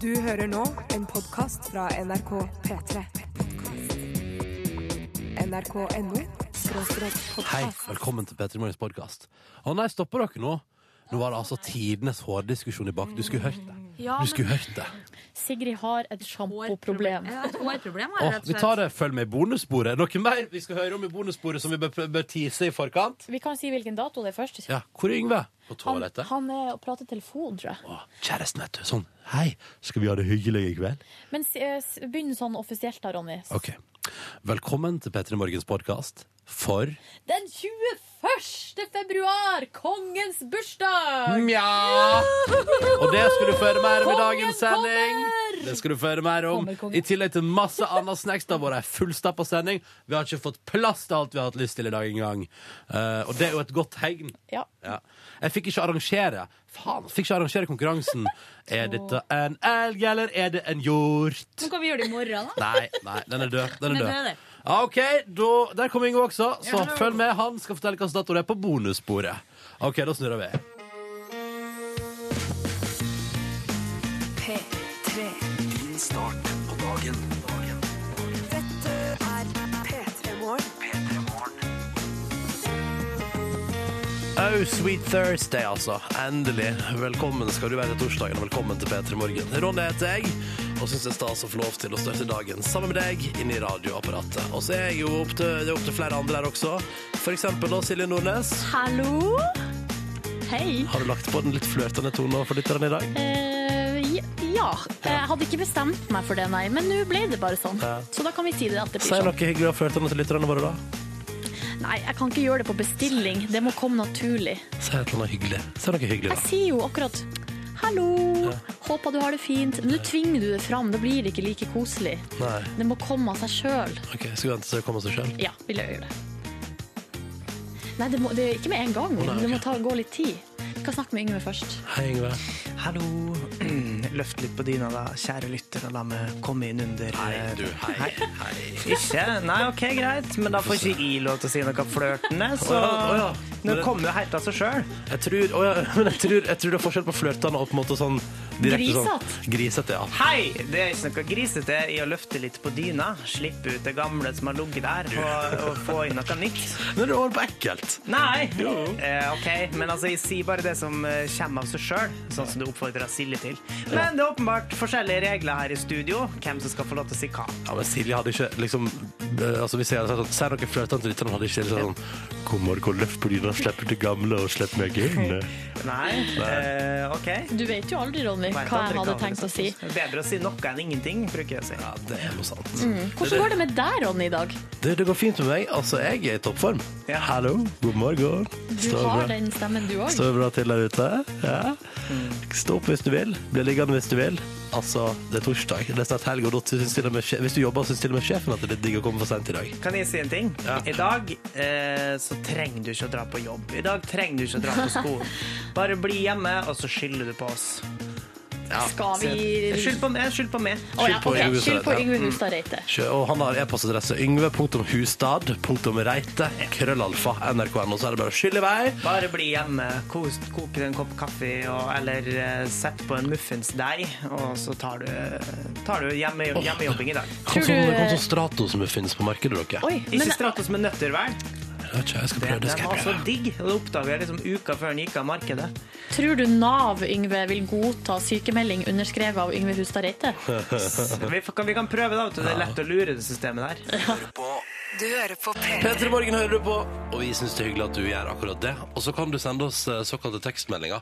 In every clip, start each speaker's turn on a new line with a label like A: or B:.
A: Du hører nå en podkast fra NRK P3. NRK.no
B: Hei, velkommen til Petter Morgens podkast. Å nei, stopper dere nå? Nå var det altså tidenes hårdiskusjon i bak. Du skulle hørt det.
C: Ja,
B: Du
C: men
B: skulle hørt det.
C: Sigrid har et sjampoproblem.
D: Ja, et hårproblem har
B: Å,
D: jeg rett
B: vi
D: og
B: tar
D: slett.
B: det. Følg med i bonussporet. Noe mer vi skal høre om i bonussporet som vi bør, bør tease i forkant?
C: Vi kan si hvilken dato det er først.
B: Ja, Hvor er Yngve? På
C: Han,
B: toalettet.
C: han er og prater telefon, tror jeg.
B: Å, kjæresten, vet du. Sånn. Hei, skal vi ha det hyggelig i kveld?
C: Men s- eh, s- begynn sånn offisielt da, Ronny. S-
B: Ok. Velkommen til Petter Morgens podkast for
C: Den 21. februar! Kongens
B: Mm.
C: bursdag!
B: Mja! Og det skal du få høre mer om i
C: Kongen
B: dagens sending. Det skal du få høre mer om.
C: Kommer, kongen.
B: I tillegg til masse annet snacks. Det har vært ei fullstappa sending. Vi har ikke fått plass til alt vi har hatt lyst til i dag engang. Eh, og det er jo et godt tegn.
C: Ja.
B: Ja. Jeg fikk ikke arrangere Faen, jeg fikk ikke arrangere konkurransen. Er dette en elg, eller er det en hjort?
D: Nå kan vi gjøre det i morgen, da.
B: Nei, nei, den er død. Den er
D: Den er
B: død.
D: død.
B: Ja, OK, da, der kom Ingo også, så
D: Ja.
B: følg med. Han skal fortelle hvilken dato det er på bonussporet. OK, da snurrer vi.
A: P3. Dette er P3 Morgen.
B: Oh, sweet Thursday, altså. Endelig. Velkommen skal du være til torsdagen, og velkommen til P3 Morgen. Ronny heter jeg, og syns det er stas å få lov til å starte dagen sammen med deg inne i radioapparatet. Og så er jeg jo opp til, det er opp til flere andre her også. For eksempel da Silje Nordnes.
C: Hallo? Hei.
B: Har du lagt på den litt flørtende tonen for lytterne i dag?
C: Eh, j- ja. Jeg hadde ikke bestemt meg for det, nei. Men nå ble det bare sånn.
B: Ja.
C: Så da kan vi si det at det
B: Si
C: blir sånn.
B: noe hyggelig og flørtende til lytterne våre, da.
C: Nei, jeg kan ikke gjøre det på bestilling. Det må komme naturlig.
B: Si et eller annet hyggelig. Si noe hyggelig,
C: Jeg
B: da.
C: sier jo akkurat Hallo, håper du har det fint. Nå tvinger du det fram, det blir ikke like koselig.
B: Nei.
C: Det må komme av seg sjøl.
B: OK, skal vi vente til det kommer seg sjøl?
C: Ja, vil jeg gjøre det. Nei, det, må, det er ikke med en gang.
B: nei,
C: Det må
B: ok.
C: ta, gå litt tid. Vi kan snakke med Yngve først.
B: Hei, Yngve.
E: Hallo. Løft litt på dyna, da, kjære lytter, og la meg komme inn under eh,
B: hei, hei.
E: Ikke? Nei, OK, greit, men da får ikke jeg lov til å si noe flørtende, så
B: Å ja, å ja.
E: Nå kommer jo helt av seg sjøl.
B: Jeg tror, å ja, men jeg tror, jeg tror det er forskjell på flørtende og på en måte sånn direkte sånn Grisete, ja.
E: Hei! Det er ikke noe grisete i å løfte litt på dyna, slippe ut det gamle som har ligget der, og, og få inn noe nytt.
B: Men det er over på ekkelt.
E: Nei! Eh, ok, men altså, jeg sier bare det som eh, kommer av seg sjøl, sånn som du oppfordra Silje til. Men det er åpenbart forskjellige regler her i studio, hvem som skal få lov til å si hva.
B: Ja, men Silje hadde ikke liksom eh, Altså Hvis jeg hadde sagt sånn Si noe flørtende til lytterne, hadde ikke Silje sagt sånn Kom, Marco, løft på dyna, slipp ut det gamle, og slipp meg inn.
E: Nei? Eh, OK.
C: Du vet jo aldri, Ronny,
E: Vet
C: hva
E: aldri
C: jeg hadde
E: hva
B: liksom
C: tenkt å si.
E: Bedre å si noe enn ingenting, bruker jeg å si.
B: Ja, det er noe sant.
C: Mm. Hvordan går det med deg, Ronny, i dag?
B: Det, det går fint med meg. Altså, jeg er i toppform.
E: Ja.
B: Hallo, god morgen.
C: Du
B: Står
C: har
B: bra.
C: den stemmen, du òg.
B: Står det bra til der ute? Ja. Stå opp hvis du vil. Bli liggende hvis du vil. Altså, det er torsdag. Det er snart helg, og da synes til og med sje- hvis du jobber, syns til og med sjefen at det er digg å komme for sent i dag.
E: Kan jeg si en ting?
B: Ja.
E: I dag eh, så trenger du ikke å dra på jobb. I dag trenger du ikke å dra på skolen. Bare bli hjemme, og så skylder du på oss.
C: Skal vi
E: Skyld på meg, skyld på meg.
C: Å, ja,
B: Skyld på
C: ok,
B: Yngve
C: Skyld på
B: Hustad, ja.
C: Yngve Hustad Reite.
B: Sjø- Og han har e-postadresse yngve.hustad.reite krøllalfa nrk.no. Så er det bare å skylle i vei.
E: Bare bli hjemme, kos, kop deg en kopp kaffe, og, eller eh, sett på en muffinsdeig, og så tar du, tar du hjemme, hjemmejobbing i dag.
B: Kom
C: Tror
B: sånn,
C: du-
B: kom sånn Stratos-muffins på markedet, dere.
C: Oi, men
E: Ikke straff oss med nøtter, vel?
B: Jeg vet ikke, jeg skal
E: Den,
B: prøve. Det
E: den
B: skal
E: var
B: jeg
E: så
B: prøve.
E: digg, og det oppdaget jeg liksom uka før den gikk av markedet.
C: tror du Nav, Yngve, vil godta sykemelding underskrevet av Yngve Hustad Reite?
E: Vi kan, vi kan prøve, da. vet du. Det er lett å lure det systemet der.
A: Du hører på P3.
B: Petter i Morgen hører du på, og vi syns det er hyggelig at du gjør akkurat det. Og så kan du sende oss eh, såkalte tekstmeldinger.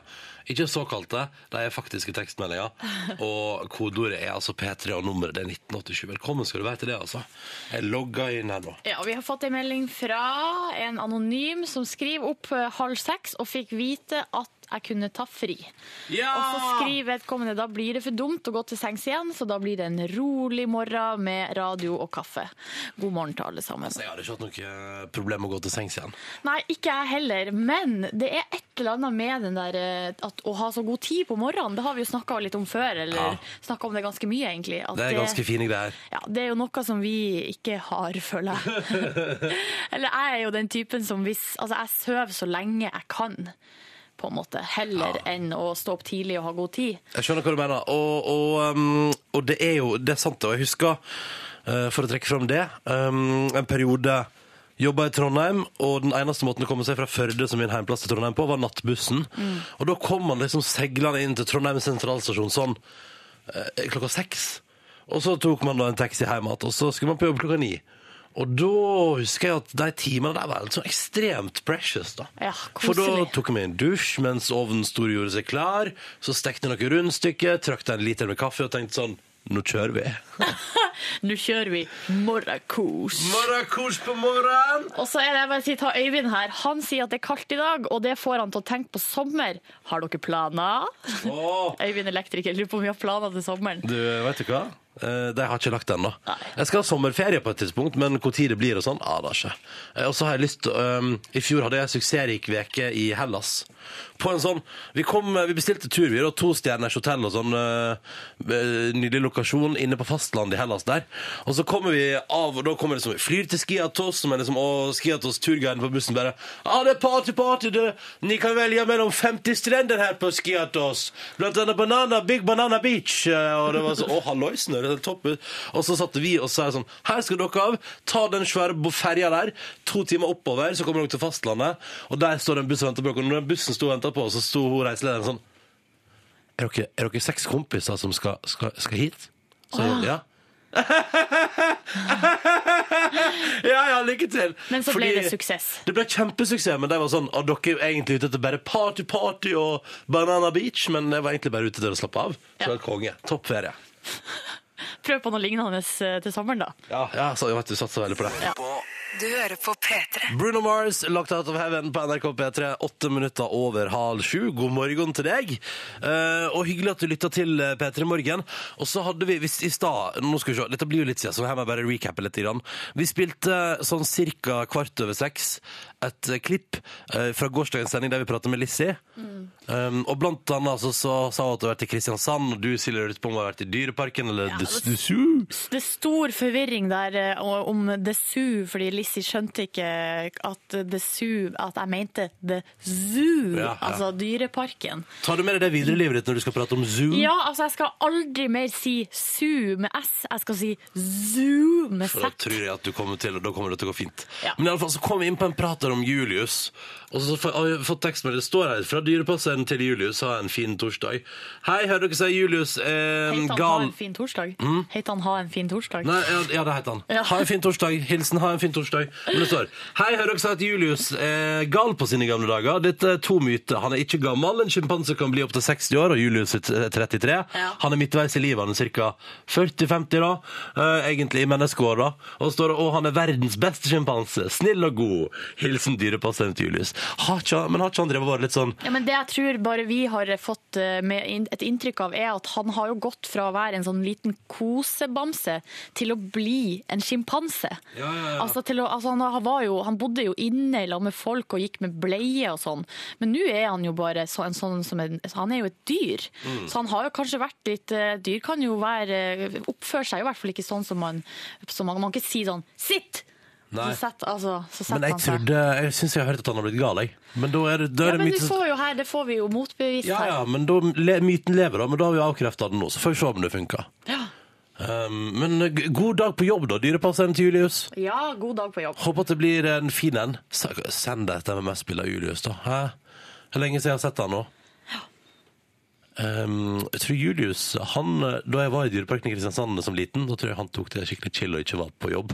B: Ikke såkalte, de er faktiske tekstmeldinger. Og kodeordet er altså P3, og nummeret det er 1987. Velkommen skal du være til det, altså. Jeg logger inn her nå.
F: Ja, Vi har fått en melding fra en anonym som skriver opp eh, halv seks og fikk vite at jeg kunne ta fri. Og så
B: Ah.
F: skriver vedkommende da blir det for dumt å gå til sengs igjen, så da blir det en rolig morgen med radio og kaffe. God morgen til alle sammen.
B: Så jeg hadde ikke hatt noe eh, problem med å gå til sengs igjen.
F: Nei, ikke jeg heller, men det er et eller annet med den der eh, at å ha så god tid på morgenen. Det har vi jo snakka litt om før, eller
B: Ja.
F: snakket snakka om det ganske mye, egentlig. at
B: Det er ganske fine greier.
F: ja, det er jo noe som vi ikke har, føler jeg. Eller jeg er jo den typen som hvis Altså, jeg sover så lenge jeg kan. på en måte, heller enn å stå opp tidlig og ha god tid.
B: Jeg skjønner hva du mener. Og, og, um, og det er jo det er sant, og jeg husker, eh, for å trekke fram det, um, en periode jobba i Trondheim, og den eneste måten å komme seg fra Førde, som min heimplass til Trondheim, på, var nattbussen. Og da kom man liksom seilende inn til Trondheim sentralstasjon sånn eh, klokka seks. Og så tok man da en taxi hjem igjen, og så skulle man på jobb klokka ni. Og da husker jeg at de timene der var helt sånn ekstremt precious, da.
F: Ja,
B: For da
F: koselig.
B: tok jeg meg en dusj mens ovnen stor gjorde seg klar. Så stekte jeg noen rundstykker, trakk en liter med kaffe og tenkte sånn Nå kjører vi.
F: Nå kjører vi morgenkos.
B: Morgenkurs på morgenen!
F: Og så er det, jeg bare sier, ta Øyvind her. Han sier at det er kaldt i dag, og det får han til å tenke på sommer. Har dere planer?
B: Åh.
F: Øyvind elektriker, lurer på om vi har planer til sommeren.
B: Du, vet du hva? Eh, De har ikke lagt det ennå.
F: Nei.
B: Jeg skal ha sommerferie på et tidspunkt, men hvor tid det blir og sånn, aner jeg ikke. Eh, Og så har jeg lyst um, I fjor hadde jeg en suksessrik veke i Hellas. På en sånn Vi, kom, vi bestilte tur, vi, da. Tostjerners hotell og sånn. eh, eh, nydelig lokasjon inne på fastlandet i Hellas der. Og så kommer vi av, og da kommer det som vi flyr til Skiatos, som er liksom, og Skiatos turguiden på bussen bare Ja, ah, det er party, party, du! Ni kan velge mellom 50 strender her på Skiatos. Blant annet Banana, Big Banana Beach. Eh, Og det var så, å, halloisen, det er topp ut. Og så satte vi og sa sånn, her skal dere av, ta den svære bo- ferja der, to timer oppover, så kommer dere til fastlandet, og der står den bussen og venter på dere. Og når den bussen sto og ventet på oss, så sto hun reiselederen sånn, er dere, er dere seks kompiser som skal, skal, skal hit? Så, ja. ja, ja, lykke til.
F: Men så ble
B: Fordi-
F: det suksess.
B: det ble kjempesuksess, men de var sånn at dere er jo egentlig ute etter bare party, party og Banana Beach, men jeg var egentlig bare ute etter å slappe av.
F: Ja.
B: Så det er konge. Topp ferie.
F: Prøv på noe lignende eh, til sommeren, da.
B: Ja, ja så jeg vet du satser veldig på det.
A: Du hører på P3.
B: Bruno Mars, Locked Out of Heaven på NRK P3, åtte minutter over halv sju. God morgen til deg, Eh, og hyggelig at du lytta til eh, P3 Morgen. Og så hadde vi hvis, i stad Nå skal vi se, dette blir jo litt siden, så her må jeg bare recappe litt. Grann. Vi spilte eh, sånn cirka kvart over seks et eh, klipp eh, fra gårsdagens sending der vi pratet med Lissi. Um, og blant annet så, så sa hun at du har vært i Kristiansand, og du Silje lurte på om du har vært i Dyreparken eller The, the Zoo.
F: Det er stor forvirring der eh, og- om The Zoo, fordi Lissi skjønte ikke at The Zoo At jeg mente The Zoo,
B: Ja, ja.
F: altså Dyreparken.
B: Tar du med deg det videre i livet ditt når du skal prate om zoo?
F: Ja, altså jeg skal aldri mer si Zoo med S, jeg skal si Zoo med
B: For da
F: Z.
B: tror jeg at du kommer til, og da kommer det til å gå fint.
F: Ja.
B: Men i alle fall så kom vi inn på en prat der om Julius. Og så får- har jeg fått tekstmelding. Det står her fra dyrepasseren til Julius. Ha en fin torsdag. Hei, hører dere si Julius eh,
F: Heit han ha
B: gal... Mm.
F: en fin torsdag? Heit han ha en fin torsdag?
B: Nei, ja, ja, det heter han.
F: Ja.
B: Ha en fin torsdag. Hilsen ha en fin torsdag. Men det står Hei, hører dere si at Julius er gal på sine gamle dager? Dette er to myter. Han er ikke gammel. En sjimpanse kan bli opptil 60 år, og Julius er t- 33. Han er midtveis i livet. Han er ca. 40-50 da. Eh, Egentlig i menneskeår, da. Og så står det Og han er verdens beste sjimpanse. Snill og god. Hilsen dyrepasseren til Julius. Har ikke, han- men har ikke han drevet og vært litt sånn
F: Ja, men Det jeg tror bare vi har fått eh, med inn- et inntrykk av, er at han har jo gått fra å være en sånn liten kosebamse til å bli en sjimpanse.
B: Ja, ja, ja.
F: Altså, til å- altså han, har- var jo, han bodde jo inne i lag med folk og gikk med bleie og sånn, men nå er han jo bare så, en sånn som en, så Han er jo et dyr,
B: Mm.
F: så han har jo kanskje vært litt eh, Dyr kan jo være eh, Oppfører seg jo i hvert fall ikke sånn som man som Man, man kan ikke si sånn 'sitt!'
B: Nei.
F: Så setter altså, så setter
B: Men jeg
F: han seg.
B: trodde Jeg syns jeg har hørt at han har blitt gal, jeg. Men da er det, da er
F: Ja,
B: det
F: men
B: myten-
F: du får jo her, Det får vi jo motbevist
B: Ja,
F: her.
B: ja, men da, le, myten lever da, men da har vi avkreftet den nå, så får vi se om det funker. Um, men g- god dag på jobb da, dyrepasseren til Julius.
F: Ja, god dag på jobb.
B: Håper at det blir en fin en. S- Send deg et MMS-bild av Julius da. Hæ? Hvor lenge siden jeg har sett han nå? Um, jeg tror Julius, han, eh, da jeg var i dyreparken i Kristiansand som liten, da tror jeg han tok det skikkelig chill og ikke var på jobb.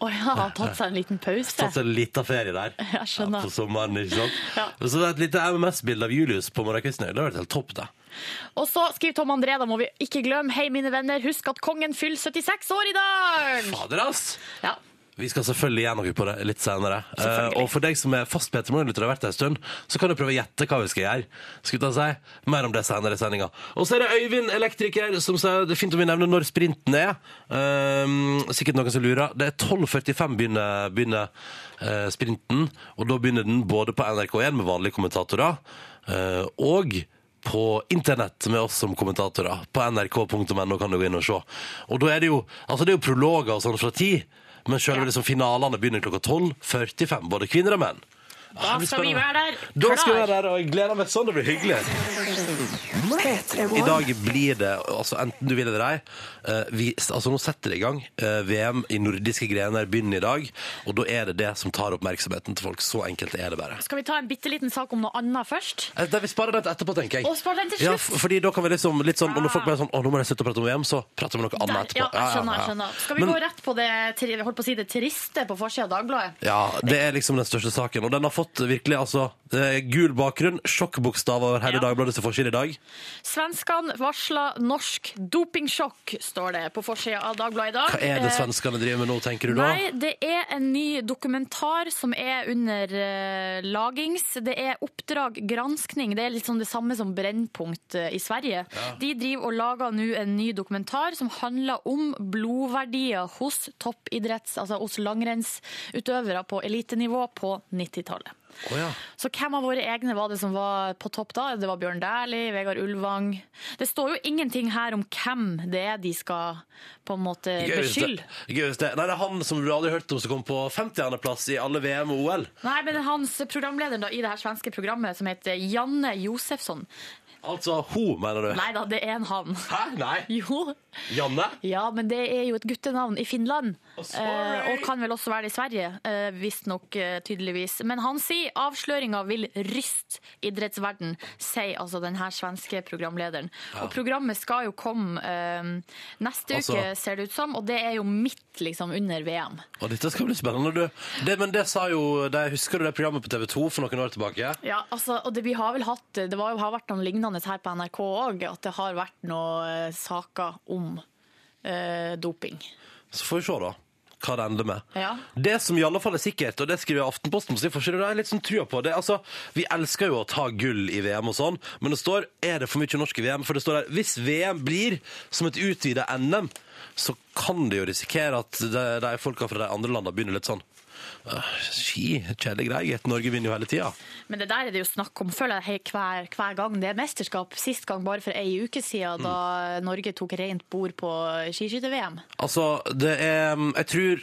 F: Å ja, han har tatt seg en liten pause.
B: Tatt seg en liten ferie der.
F: Jeg skjønner.
B: Ja, på sommeren, ikke sant?
F: Ja.
B: Og Så det er et lite MMS-bild av Julius på morgenkvisten. Det hadde vært helt topp det.
F: Og så skriver Tom André, da må vi ikke glemme, hei mine venner, husk at kongen fyller 76 år i dag!
B: Fader ass!
F: Ja.
B: Vi skal selvfølgelig gjøre noe på det litt senere.
F: Selvfølgelig.
B: Eh, og for deg som er fast Peter Morgenlytter og har vært der en stund, så kan du prøve å gjette hva vi skal gjøre. Skal vi ta si? Mer om det senere i sendinga. Og så er det Øyvind, elektriker, som sier det er fint om vi nevner når sprinten er. Ehm, sikkert noen som lurer. Det er 12.45 begynner, begynner eh, sprinten, og da begynner den både på NRK1 med vanlige kommentatorer, eh, og på internett med oss som kommentatorer. På nrk.no kan du gå inn og se. Og da er det jo, altså det er jo prologer og sånn fra ti, men selv liksom finalene begynner klokka 12.45, både kvinner og menn.
F: Da skal vi være der.
B: Da skal vi
F: Klar.
B: være der, og jeg gleder meg sånn. Det blir hyggelig. I dag blir det, altså enten du vil eller ei eh, vi, altså Nå setter det i gang. Eh, VM i nordiske grener begynner i dag, og da er det det som tar oppmerksomheten til folk. Så enkelt er det bare.
F: Skal vi ta en bitte liten sak om noe annet først?
B: Eh, da, vi sparer den til etterpå, tenker jeg.
F: Og spar den til
B: Ja,
F: slutt.
B: f- fordi da kan vi liksom litt sånn, og Når folk bare er sånn 'Å, nå må jeg slutte å prate om VM', så prater vi om noe
F: Der,
B: annet
F: ja,
B: etterpå.
F: jeg skjønner, jeg skjønner. Skal vi
B: Men-
F: gå rett på det, tri- jeg holdt på å si det triste på forsida av Dagbladet?
B: Ja, det er liksom den største saken. Og den har fått virkelig altså, eh, gul bakgrunn, sjokkbokstav over hele
F: Ja.
B: Dagbladets forside i dag.
F: Svenskene varsla norsk dopingsjokk, står det på forsida av Dagbladet i dag.
B: Hva er det
F: Eh,
B: svenskene driver med nå, tenker du da?
F: Nei, det er en ny dokumentar som er under eh, lagings. Det er oppdrag granskning. Det er litt sånn det samme som Brennpunkt eh, i Sverige. De driver og lager nå en ny dokumentar som handler om blodverdier hos toppidretts, altså hos langrennsutøvere på elitenivå på 90-tallet.
B: Å ja.
F: Så hvem av våre egne var det som var på topp da? Det var Bjørn Dæhlie, Vegard Ulvang. Det står jo ingenting her om hvem det er de skal på en måte
B: Gøy hvis det-
F: beskylde.
B: Gøy hvis det. Nei, det er han som du aldri hørte om som kom på 50.-plass i alle VM og OL.
F: Nei, men hans programleder da, i det her svenske programmet som heter Janne Josefsson.
B: Altså ho, mener du?
F: Nei da, det er en han.
B: Hæ? Nei.
F: Jo.
B: Janne?
F: Ja, men det er jo et guttenavn i Finland.
B: Oh, sorry.
F: Eh, og kan vel også være det i Sverige, eh, visstnok eh, tydeligvis. Men han sier avsløringa vil ryste idrettsverden, sier altså den her svenske programlederen. Og programmet skal jo komme eh, neste
B: Altså-
F: uke, ser det ut som, og det er jo midt liksom under VM.
B: Og dette skal bli spennende, du. Det, men det sa jo de, Husker du det programmet på TV 2 for noen år tilbake?
F: Ja, altså, og det, vi har vel hatt Det var, har vært noe lignende her på NRK òg, at det har vært noen eh, saker om eh, doping.
B: Så får vi se, da. Hva det ender med.
F: Ja.
B: Det som i alle fall er sikkert, og det skriver Aftenposten på sin forside, og det er jeg litt sånn trua på det. er, Altså, vi elsker jo å ta gull i VM og sånn, men det står er det for mye norsk i VM? For det står der hvis VM blir som et utvida NM, så kan det jo risikere at de, de folka fra de andre landa begynner litt sånn «Øh, Ski, kjedelig greie, gitt. Norge vinner jo hele tida.
F: Men det der er det jo snakk om, føler jeg, he- hver, hver gang det er mesterskap. Sist gang bare for ei uke siden,
B: Mm.
F: da Norge tok rent bord på skiskytter-VM.
B: Altså, det er Jeg tror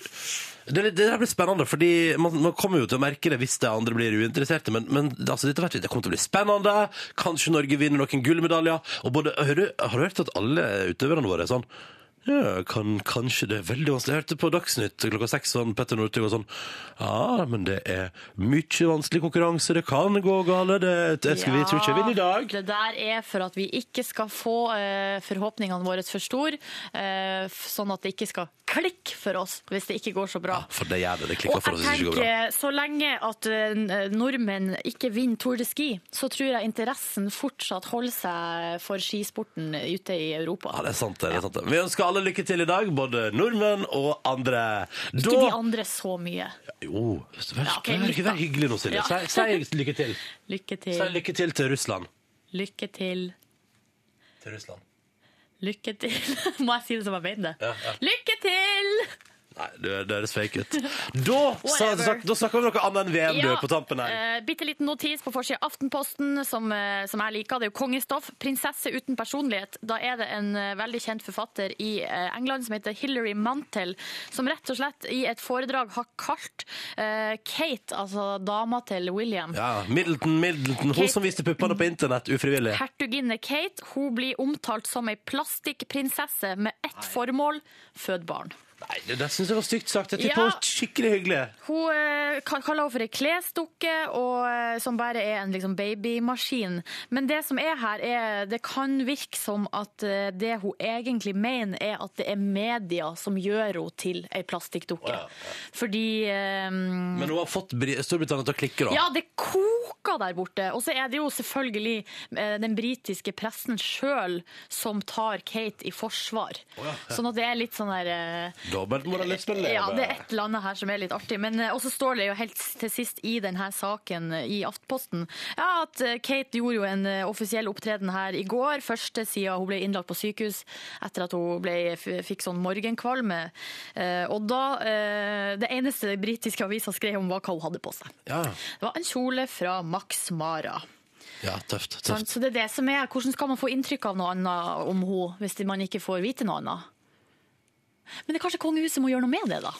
B: det, det der blir spennende, fordi man, man kommer jo til å merke det hvis de andre blir uinteresserte. Men, men altså, dette vet vi, det kommer til å bli spennende. Kanskje Norge vinner noen gullmedaljer. Og både, har, du, har du hørt at alle utøverne våre er sånn ja, kan, kanskje det er veldig vanskelig. Jeg hørte på Dagsnytt klokka seks sånn Petter Northug og sånn Ja, men det er mye vanskelig konkurranse, det kan gå gale, det, jeg, skulle, vi tror ikke jeg vinner i dag.
F: Det der er for at vi ikke skal få eh, forhåpningene våre for store, eh, f- sånn at det ikke skal klikke for oss hvis det ikke går så bra.
B: For det gjør det. Det klikker
F: Og
B: for oss hvis det
F: jeg
B: ikke går bra.
F: tenker, så lenge at eh, nordmenn ikke vinner Tour de Ski, så tror jeg interessen fortsatt holder seg for skisporten ute i Europa.
B: Ja, det er sant. det, det er sant. det. Vi ønsker alle lykke til i dag, både nordmenn og andre.
F: Ikke de andre så mye.
B: Jo, vær,
F: Ja, ok,
B: vær,
F: litt da.
B: vær hyggelig nå, Silje.
F: Ja. Eh.
B: Si, si lykke til.
F: Lykke
B: Si
F: til,
B: lykke til til Russland.
F: lykke til,
B: Til Russland.
F: lykke til. Må jeg si det som jeg mener det?
B: Ja, ja.
F: Lykke til!
B: Nei, du, det høres fake ut. Da, sa,
F: Whatever.
B: snak, da snakker vi om noe annet enn VM, du, på tampen her.
F: eh, bitte liten notis på forsida av Aftenposten som, eh, som jeg liker. Det er jo kongestoff. 'Prinsesse uten personlighet'. Da er det en eh, veldig kjent forfatter i eh, England som heter Hilary Mantel, som rett og slett i et foredrag har kalt eh, Kate, altså dama til William,
B: Ja, Middleton, Middleton. Hun
F: Kate-
B: som viste puppene på internett ufrivillig.
F: hertuginne Kate. Hun blir omtalt som ei plastikkprinsesse med ett formål fød barn.
B: Nei, Det, det syns jeg var stygt sagt. Jeg
F: Ja.
B: tipper hun var skikkelig hyggelig.
F: Hun eh, ka- kaller henne for ei klesdukke, og, eh, som bare er en liksom, babymaskin. Men det som er her, er det kan virke som at eh, det hun egentlig mener, er at det er media som gjør henne til ei plastikkdukke. Fordi eh,
B: Men hun har fått Bri- Storbritannia til å klikke, da.
F: ja, det koker der borte. Og så er det jo selvfølgelig eh, den britiske pressen sjøl som tar Kate i forsvar. Sånn at det er litt sånn der eh,
B: Dobbeltmoralismen lever.
F: ja, det er et eller annet her som er litt artig. Men eh, også står det jo helt s- til sist i denne saken eh, i Aftposten ja, at eh, Kate gjorde jo en eh, offisiell opptreden her i går. Første siden hun ble innlagt på sykehus etter at hun ble, f- fikk sånn morgenkvalme. Eh, Og da eh, Det eneste britiske avisa skrev om, var hva hun hadde på seg.
B: ja.
F: Det var en kjole fra Max Mara.
B: ja, tøft.
F: Sant?
B: tøft.
F: Så det er det som er, Hvordan skal man få inntrykk av noe annet om henne hvis man ikke får vite noe annet? Men det er kanskje kongehuset må gjøre noe med det, da?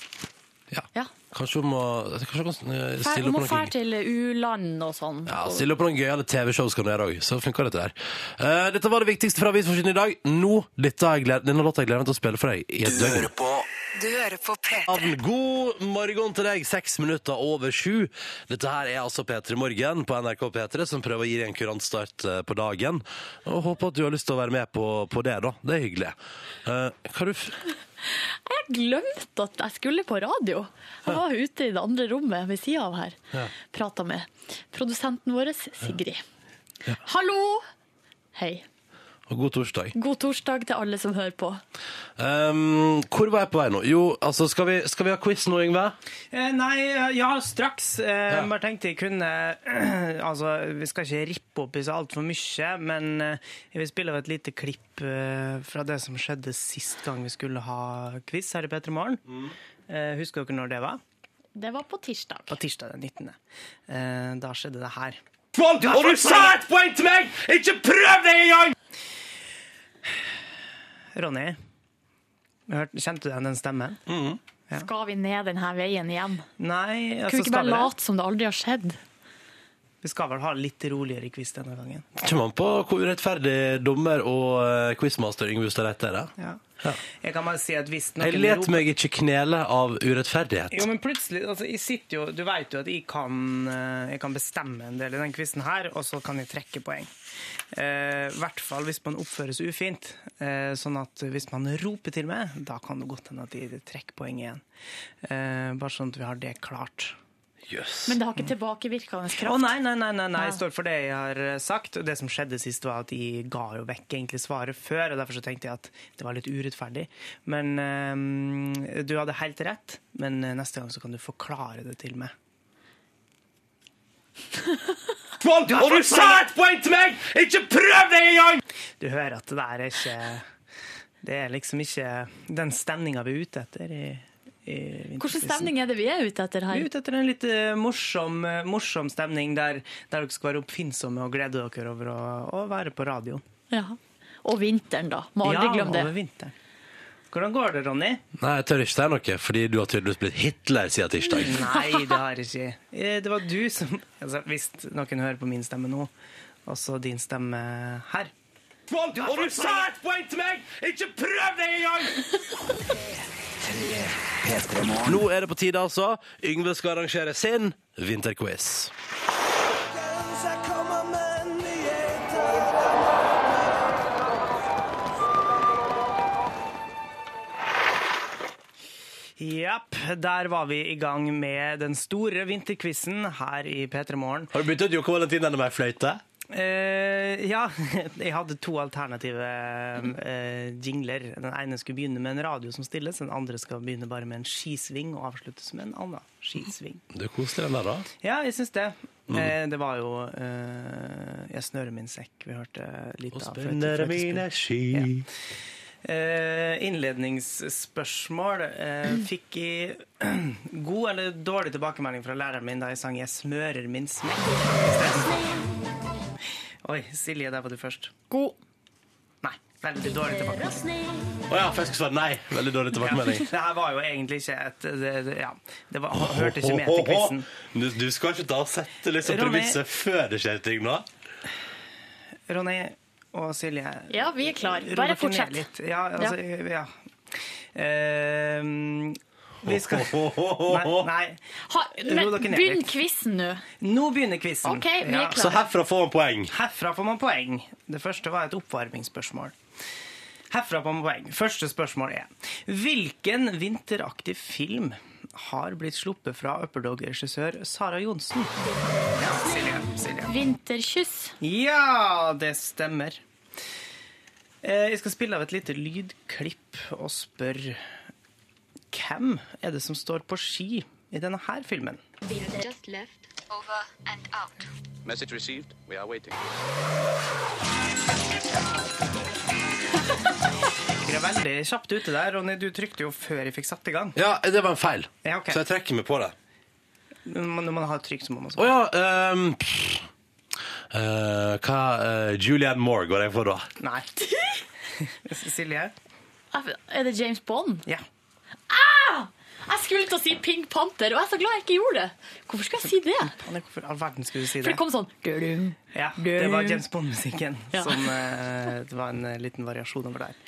B: Ja.
F: Ja.
B: Kanskje hun må, kanskje hun kan eh,
F: Fær,
B: stille
F: må
B: opp på noe
F: fære til u-land og sånn.
B: Ja, Stille opp på noen gøyale TV-show skal du gjøre òg. Så funker dette der. Eh, dette var det viktigste fra Avisforsiden i dag. Nå, dette har jeg gled, Denne låta har jeg gleder meg til å spille for deg i et døgn.
A: Du hører på P3.
B: Navn. God morgen til deg, seks minutter over sju. Dette her er altså P3 Morgen på NRK P3, som prøver å gi deg en kurant start eh, på dagen. Og Håper at du har lyst til å være med på, på det, da. Det er hyggelig. Eh, hva du f
F: Jeg glemte at jeg skulle på radio. Jeg var ute i det andre rommet ved sida av her. Prata med produsenten vår, Sigrid. Hallo! Hei.
B: God torsdag.
F: God torsdag til alle som hører på.
B: Um, hvor var jeg på vei nå? Jo, altså, skal vi, skal vi ha quiz nå, Yngve?
E: Eh, Nei, ja, straks. Eh,
B: Ja.
E: Bare tenkte jeg kunne Altså, vi skal ikke rippe opp i så altfor mye, men eh, jeg vil spille av et lite klipp eh, fra det som skjedde sist gang vi skulle ha quiz her i P3 Morgen.
B: Mm.
E: Eh, husker dere når det var?
F: Det var på tirsdag.
E: På tirsdag den 19. Eh, da skjedde det her.
B: Og du sa et poeng til meg! Ikke prøv deg engang!
E: Ronny, hørte, kjente du igjen den stemmen?
F: Skal vi ned denne veien igjen?
E: Nei,
F: Kunne
E: altså,
F: vi ikke
E: skal
F: bare
E: vi, det?
F: late som det aldri har skjedd?
E: vi skal vel ha litt roligere quiz denne gangen.
B: Kommer an på hvor urettferdig dommer og eh, quizmaster Yngve Hustad Reite er. da.
E: Ja. Jeg kan bare si at hvis noen
B: Jeg let
E: roper-
B: meg ikke knele av urettferdighet.
E: Jo, men plutselig, altså, jeg sitter jo, Du vet jo at jeg kan, eh, jeg kan bestemme en del i den quizen her, og så kan jeg trekke poeng. Eh, I hvert fall hvis man oppføres ufint. Eh, sånn at hvis man roper til meg, da kan det godt hende at jeg trekker poeng igjen. Eh, bare sånn at vi har det klart.
B: Jøss.
F: Men det har ikke
E: Mm.
F: tilbakevirkende kraft.
E: Å nei, nei, nei, nei, nei, jeg står for det jeg har eh, sagt. Og det som skjedde sist, var at jeg ga jo vekk egentlig svaret før, og derfor så tenkte jeg at det var litt urettferdig. Men eh, du hadde helt rett, men eh, neste gang så kan du forklare det til meg.
B: Og du sa et poeng til meg! Ikke prøv deg engang!
E: Du hører at det der er ikke Det er liksom ikke den stemninga vi er ute etter i, i
F: Hvilken
E: vinterquizen.
F: stemning er det vi er ute etter
E: Vi er
F: her?
E: ute etter en litt eh, morsom, eh, morsom stemning der, der dere skal være oppfinnsomme og glede dere over å, å være på radio.
F: Ja. Og vinteren, da. Må aldri glemme det.
E: over vinteren. Hvordan går det, Ronny?
B: Nei, jeg tør ikke si noe, fordi du har tydeligvis blitt Hitler siden tirsdag.
E: Nei, det har jeg ikke. Eh, Det var du som altså, Hvis noen hører på min stemme nå, og så din stemme her
B: Og du sa et poeng til meg! Ikke prøv deg engang! Nå er det på tide, altså. Yngve skal arrangere sin vinterquiz.
E: Japp, der var vi i gang med den store vinterquizen her i P3 Morgen.
B: Har du begynt å jokke valentinene med ei fløyte?
E: Eh, ja, jeg hadde to alternative eh, jingler. Den ene skulle begynne med en radio som stilles, den andre skal begynne bare med en skisving og avsluttes med en annen skisving.
B: Det er koselig, den der, da.
E: Ja, jeg syns det. Eh, det var jo eh, 'Jeg snører min sekk' vi hørte litt av. før- før-
B: ski
E: Eh, innledningsspørsmål. Eh,
F: Mm.
E: fikk jeg god eller dårlig tilbakemelding fra læreren min da jeg sang 'Jeg smører min smekk'? Oi, Silje, der var du først.
F: God.
E: Nei, veldig dårlig tilbakemelding.
B: Å ja, for jeg skulle svare nei. Veldig dårlig tilbakemelding.
E: Det her var jo egentlig ikke et det, det, Ja, det var, hørte ikke med til quizen.
B: Du, du skal ikke da sette liksom
E: Ronny.
B: premisset før det skjer ting nå?
E: Ronny og Silje,
F: Ja, vi er klar.
E: ro dere
F: Bare
E: ned
F: fortsett.
E: litt. Ja, altså, ja. Eh, vi skal Nei. nei.
F: Ha, men
E: Ro dere ned
F: begynn
E: litt.
F: quizen nå.
E: Nå begynner quizen.
F: OK, vi er
B: Så
F: klare.
B: herfra får han poeng.
E: Herfra får man poeng. Det første var et oppvarmingsspørsmål. Herfra får man poeng. Første spørsmål er Hvilken vinteraktiv film har blitt sluppet fra Upperdog-regissør Sara Johnsen? Ja, Silje. Silje.
F: Vinterkyss.
E: Ja, det stemmer. Eh, Jeg skal spille av et lite lydklipp og spørre Hvem er det som står på ski i denne her filmen?
G: Just left, over and out.
H: Message received. We are waiting.
E: Dere er veldig kjapt ute der. Ronny, du trykte jo før jeg fikk satt i gang.
B: Ja, det var en feil.
E: Ja, ok.
B: Så jeg trekker meg på det.
E: Men Når man har trykk, så må man
B: Å ja ehm, pff. Eh, Hva eh, Julianne Moore går jeg for, da?
E: Nei. Silje?
F: Er det James Bond?
E: Ja.
F: Jeg skulle til å si Pink Panther, og jeg er så glad jeg ikke gjorde det. Hvorfor skulle jeg si det?
E: Faen, Hvorfor i all verden skulle du si
F: For
E: det?
F: det kom sånn «Dudum».
E: Ja, det var James Bond-musikken
F: Ja.
E: som eh, Det var en eh, liten variasjon over der.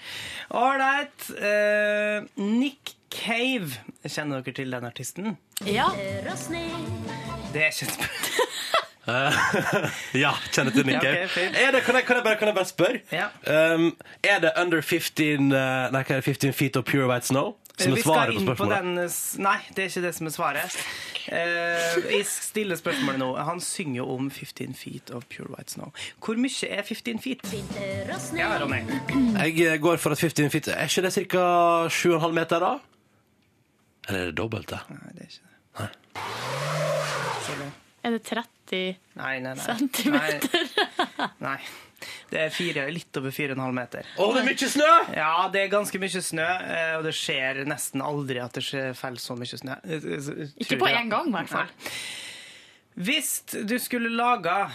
E: Ålreit. eh, Nick Cave. Kjenner dere til den artisten?
F: Ja.
E: Det er ikke et spørsmål.
B: Ja, kjenner til Nick
E: Ja,
B: Cave.
E: ok, fint.
B: Er det- Kan jeg- kan jeg bare- kan jeg bare spørre?
E: Ja.
B: Um, er det under 15, eh, nei, hva er det, 15 feet of pure white snow som er
E: Vi skal
B: svaret på
E: inn på
B: spørsmålet?
E: den s- Nei, det er ikke det som er svaret. Eh, jeg stiller spørsmålet nå. Han synger jo om 15 feet of pure white snow. Hvor mye er 15 feet? Ja, Ronny.
B: Jeg eh, går for at 15 feet Er ikke det ca. 7,5 meter, da? Eller er det dobbelt, det?
E: Nei, det er ikke det. Så det.
F: Er det 30
E: Nei, nei, nei.
F: Centimeter.
E: Nei. nei. Det er fire, litt over 4,5 meter.
B: Å, det er mye snø!
E: Ja, det er ganske mye snø, eh, og det skjer nesten aldri at det skjer- faller så mye snø. Eh, eh,
F: Ikke
E: tror
F: på
E: jeg.
F: én gang, i hvert fall.
E: Hvis du skulle laga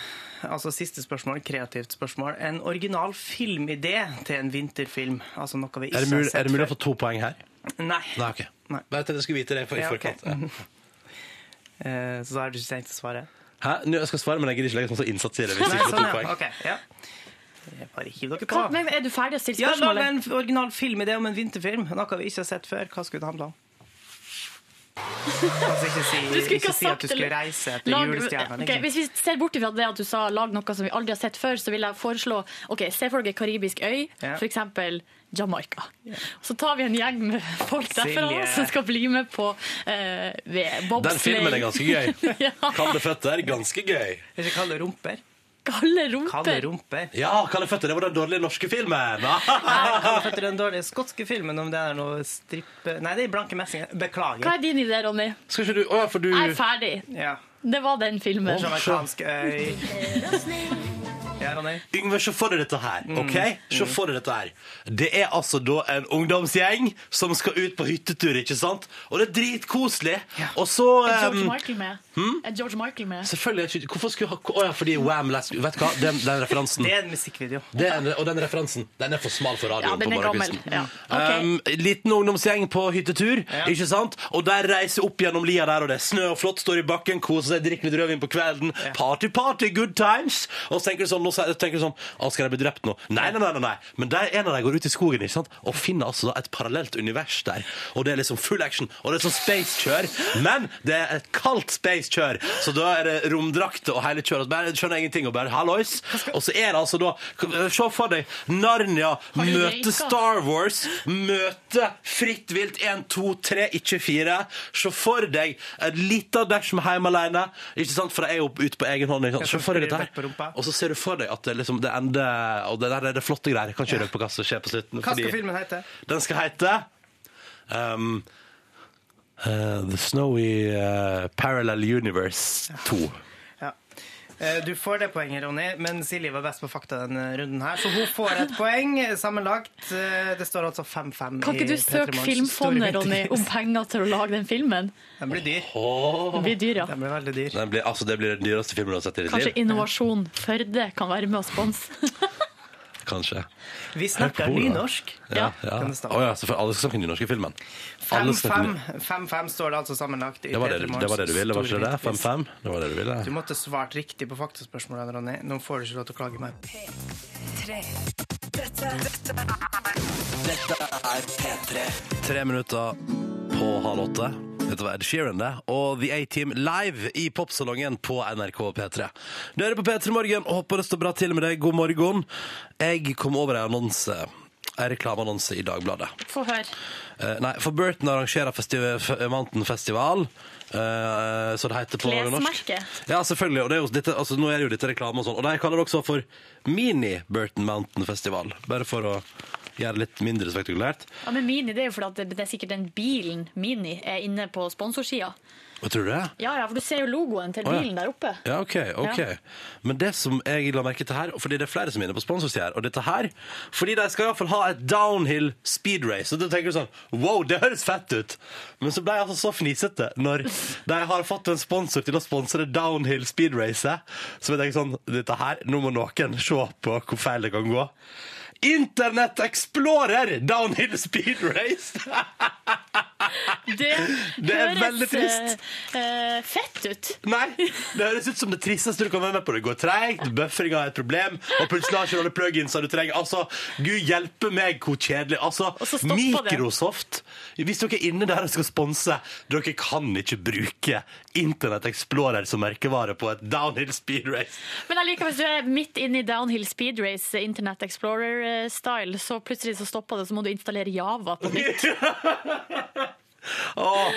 E: altså siste spørsmål, kreativt spørsmål, en original filmidé til en vinterfilm altså noe vi ikke
B: Er det mulig,
E: har
B: er
E: sett
B: det mulig å
E: før.
B: få to poeng her?
E: Nei.
B: Nei, OK.
E: Nei.
B: Bare til jeg skulle vite det for, i
E: Ja, ok.
B: forkant. Ja.
E: Eh, Så da har du ikke tenkt å svare?
B: Hæ? Nå, jeg skal svare, men jeg gidder ikke legge så masse innsats i det. Hvis
E: Nei,
B: jeg ikke får
E: sånn,
B: to poeng
E: ja. Ok, ja. Jeg Bare hiv dere
F: Hva,
E: på.
F: men er du ferdig å stille
E: Ja, lag
F: spørsmålet?
E: en original filmidé om en vinterfilm, noe vi ikke har sett før. Hva skulle det handle om? Altså, ikke si,
F: Du skulle ikke ha
E: ikke si
F: sagt
E: at du skulle
F: det.
E: reise etter
F: Lag-
E: julestjerna.
F: Ok,
E: liksom.
F: hvis vi ser bort ifra det at du sa 'lag noe som vi aldri har sett før', så vil jeg foreslå ok, Se for dere ei karibisk øy,
E: Ja.
F: for f.eks. Jamaica. Så tar vi en gjeng med folk derfra
E: Silje.
F: som skal bli med på eh, ved bobsleigh.
B: Den filmen er ganske gøy.
F: ja.
B: Kalde føtter, ganske gøy.
E: Ikke kalle det rumper.
F: Kalle rumper.
E: Kalle det rumper.
B: Ja, Kalde føtter, det var den dårlige norske filmen!
E: Kalle føtter den dårlige skotske filmen om det er noe strippe... Nei, det er blanke messinger.
F: Hva
E: Beklager.
F: er din idé, Ronny?
B: Skal ikke du Å ja, for du
F: Jeg er ferdig.
E: Ja.
F: Det var den filmen.
E: Jamaicansk øy. Ja, Ronny.
B: Yngve, se for deg dette her. ok? Se for deg dette her. Det er altså da en ungdomsgjeng som skal ut på hyttetur, ikke sant? Og det er dritkoselig. Og så
F: Er George
B: ehm,
F: Michael med? Hmm? Er George Michael med?
B: Selvfølgelig er ikke Hvorfor skulle ha Å ja, fordi Wham! Last Vet du hva, den, den referansen
E: Det er en musikkvideo.
B: det er, en- og den referansen den er for smal for radioen.
F: Ja, den
B: på
F: er gammel.
B: morgenkvisten.
F: Ja. Ok.
B: Um, liten ungdomsgjeng på hyttetur, ikke sant? Og der reiser opp gjennom lia der, og det er snø og flott, står i bakken, koser seg, drikker litt rødvin på kvelden. Party, party, good times! Og så tenker du sånn, nå så- tenker du sånn Å, skal jeg bli drept nå? Nei, nei, nei, nei, nei. Men der en av dem går ut i skogen ikke sant? og finner altså da et parallelt univers der. Og det er liksom full action, og det er sånn space-kjør. Men det er et kaldt space-kjør, så da er det romdrakter og hele kjøret. Bare skjønner ingenting og bare hallois. Og så er det altså da Se for deg Narnia
F: du
B: møter
F: røyka?
B: Star Star Wars møte fritt vilt 1, 2, 3, ikke 4. Se for deg et lite dash med hjem alene. Ikke sant? For jeg er jo ute på egen hånd. Ikke sant?
E: Ja,
B: Se for deg dette
E: rett på rumpa.
B: her. Og så ser du for deg at det, liksom, det ender Og det der er det flotte greier. Jeg kan ikke røpe hva som skjer på slutten.
E: Hva skal
B: fordi
E: filmen hete?
B: Den skal hete um, eh, The Snowy eh, Parallel Universe 2.
E: Ja. Eh, Du får det poenget, Ronny, men Silje var best på fakta denne runden her, så hun får et poeng eh, sammenlagt. Eh, Det står altså 5-5
F: Kan ikke du søke Filmfondet, Ronny, om penger til å lage den filmen?
E: Den blir dyr.
F: Det blir dyr, ja.
E: Den blir veldig dyr.
B: Den blir, altså, det blir den dyreste filmen du har sett i ditt
F: Kanskje
B: liv.
F: Innovasjon Førde kan være med og sponse?
B: Kanskje.
E: Vi snakker
B: Hør på ordet.
E: nynorsk.
F: Ja.
B: Ja.
E: Kan
B: Å
E: det stå?
B: ja, selvfølgelig. alle skal snakke den nynorske filmen. Alle skal
E: 5-5
B: snakke
E: 5-5 står det altså sammenlagt. i
B: Det var det,
E: Peter Morgens
B: det var det du ville, var ikke det?
E: storhitpris.
B: 5-5? Det var det du ville?
E: Du måtte svart riktig på faktaspørsmålene, Ronny. Nå får du ikke lov til å klage mer.
B: Tre minutter på halv åtte. Dette var Ed Sheeran, det. Og The A-Team live i popsalongen på NRK P3. Du hører på P3 Morgen og håper det står bra til med deg. God morgen. Jeg kom over en annonse. En reklameannonse i Dagbladet.
F: Få høre.
B: Eh, nei, for Burton arrangerer festi- f- Mountain-festival. eh, så det heter på norsk.
F: Klesmerke.
B: Ja, selvfølgelig. Og det er jo dette, altså, nå er det jo dette reklame og sånn. Og de kaller det også for Mini-Burton Mountain-festival. Bare for å gjøre det litt mindre spektakulært.
F: Ja, men Mini, det er jo fordi at det- det er sikkert den bilen Mini er inne på sponsorsida.
B: Hva tror du det?
F: Ja ja, for du ser jo logoen til
B: ja.
F: bilen der oppe.
B: Ja, ok, ok.
F: Ja.
B: Men det som jeg la merke til her, fordi det er flere som er inne på sponsorsida her, og dette her Fordi de skal iallfall ha et downhill speed race, og da tenker du sånn Wow, det høres fett ut! Men så ble jeg altså så fnisete når de har fått en sponsor til å sponse det downhill speed racet. Så jeg tenker sånn Dette her, nå må noen se på hvor feil det kan gå. Internett Explorer Downhill Speed Race!
F: Det,
B: Det er veldig trist.
F: eh, eh, fett ut.
B: Nei, det høres ut som det tristeste du kan være med på. Det går treigt, bufferinga er et problem, og plutselig har ikke du alle pluginsa du trenger. Altså, Gud hjelpe meg, hvor kjedelig. Altså,
F: Og så stopper det.
B: Microsoft, hvis dere er inne der og skal sponse, dere kan ikke bruke Internett Explorer som merkevare på et downhill speed race.
F: Men jeg liker hvis du er midt inne i downhill speed race, eh, Internet Explorer-style, så plutselig så stopper det, så må du installere Java på nytt.
B: Åh,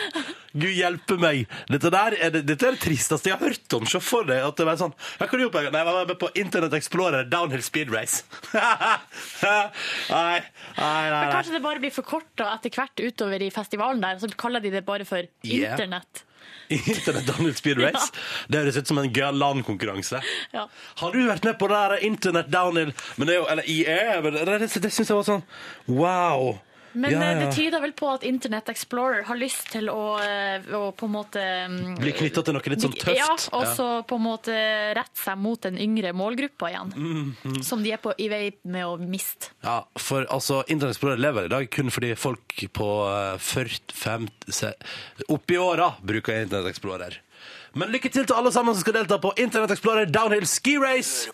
B: Gud hjelpe meg. Dette, der er det, dette er det tristeste jeg har hørt om. Se for deg at det var sånn Hva kan du gjøre på? Nei, jeg var med på Internet Explorer Downhill Speed Race. nei, nei, nei.
F: Men
B: nei.
F: kanskje det bare blir forkorta etter hvert utover i festivalen der, så kaller de det bare for
B: Yeah.
F: internett.
B: Internet Downhill Speed Race. Det høres ut som en galan-konkurranse.
F: Ja.
B: Har du vært med på det her Internet Downhill Men det er jo, Eller IE? men Det, det, det syns jeg var sånn wow.
F: Men
B: Ja,
F: eh,
B: ja.
F: det tyder vel på at Internet Explorer har lyst til å, eh, å på en måte mm,
B: Blir knytta til noe litt sånn
F: Ja,
B: tøft.
F: og så på en måte rette seg mot den yngre målgruppa igjen.
B: Mhm.
F: Som de er på, i vei med å miste.
B: Ja, for altså, Internett Explorer lever i dag kun fordi folk på eh, 40, 50, se- oppi åra bruker Internett Explorer. Men lykke til til alle sammen som skal delta på Internett Explorer Downhill Ski Race!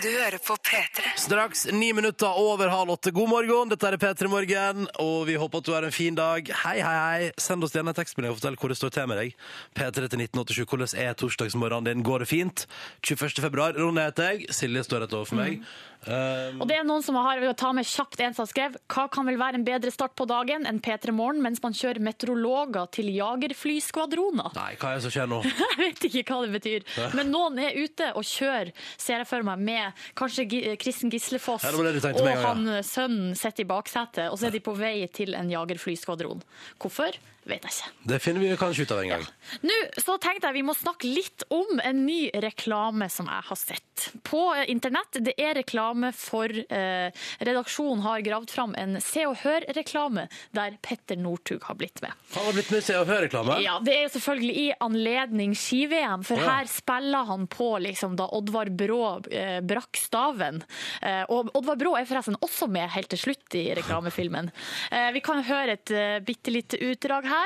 A: Du hører på P3.
B: Straks ni minutter over halv åtte. God morgen, dette er P3 Morgen, og vi håper at du har en fin dag. Hei, hei, hei. Send oss gjerne en tekstmelding og fortell hvor det står til med deg. P3 til 1987. Hvordan er torsdagsmorgenen din? Går det fint? 21. februar. Ronny heter jeg. Silje står rett overfor meg. Um,
F: Og det er noen som har, vil ta med kjapt en som skrev Hva kan vel være en bedre start på dagen enn P3 Morgen mens man kjører meteorologer til jagerflyskvadroner?
B: nei, hva er det som skjer nå?
F: Jeg vet ikke hva det betyr. Men noen er ute og kjører, ser jeg for meg, med kanskje Gi- Kristen Gislefoss
B: Ja, det
F: og
B: var det du tenkte med en gang,
F: han sønnen sitter i baksetet, og så er de på vei til en jagerflyskvadron. Hvorfor? Vet jeg ikke.
B: Det finner vi kanskje ut av en gang.
F: Nå så tenkte jeg vi må snakke litt om en ny reklame som jeg har sett på eh, internett. Det er reklame for eh, Redaksjonen har gravd fram en Se og Hør-reklame der Petter Northug har blitt med.
B: Han har blitt med i Se og Hør-reklame.
F: Ja, Det er jo selvfølgelig i anledning ski-VM, for
B: Å, ja.
F: her spiller han på liksom, da Oddvar Brå eh, brakk staven. Eh, og Oddvar Brå er forresten også med helt til slutt i reklamefilmen. Eh, vi kan høre et eh, bitte lite utdrag her.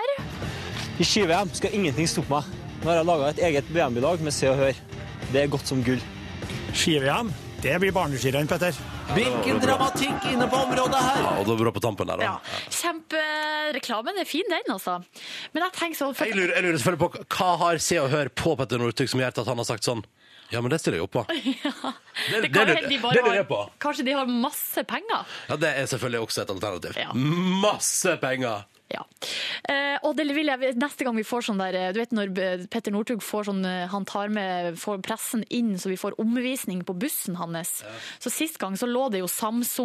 I: I ski-VM skal ingenting stoppe meg. Nå har jeg laga et eget VM-bilag med Se og Hør. Det er godt som gull.
J: Ski-VM, det blir barneskirenn, Petter.
I: Hvilken dramatikk inne på området her!
B: Ja, og da bra på tampen der, da.
F: Kjempereklamen er fin, den, altså. Men jeg tenker sånn for,
B: Jeg lurer, jeg lurer selvfølgelig på hva har Se og Hør på Petter Northug som gjør at han har sagt sånn Ja, men det stiller jeg opp på. Det,
F: det
B: det,
F: kan jo hende de bare
B: lurer jeg på.
F: har, Kanskje de har masse penger?
B: Ja, det er selvfølgelig også et alternativ.
F: Ja.
B: Masse penger!
F: Ja. Eh, og det vil jeg, neste gang vi får sånn der eh, Du vet når eh, Petter Northug får sånn eh, Han tar med får pressen inn, så vi får omvisning på bussen hans. Så sist gang så lå det jo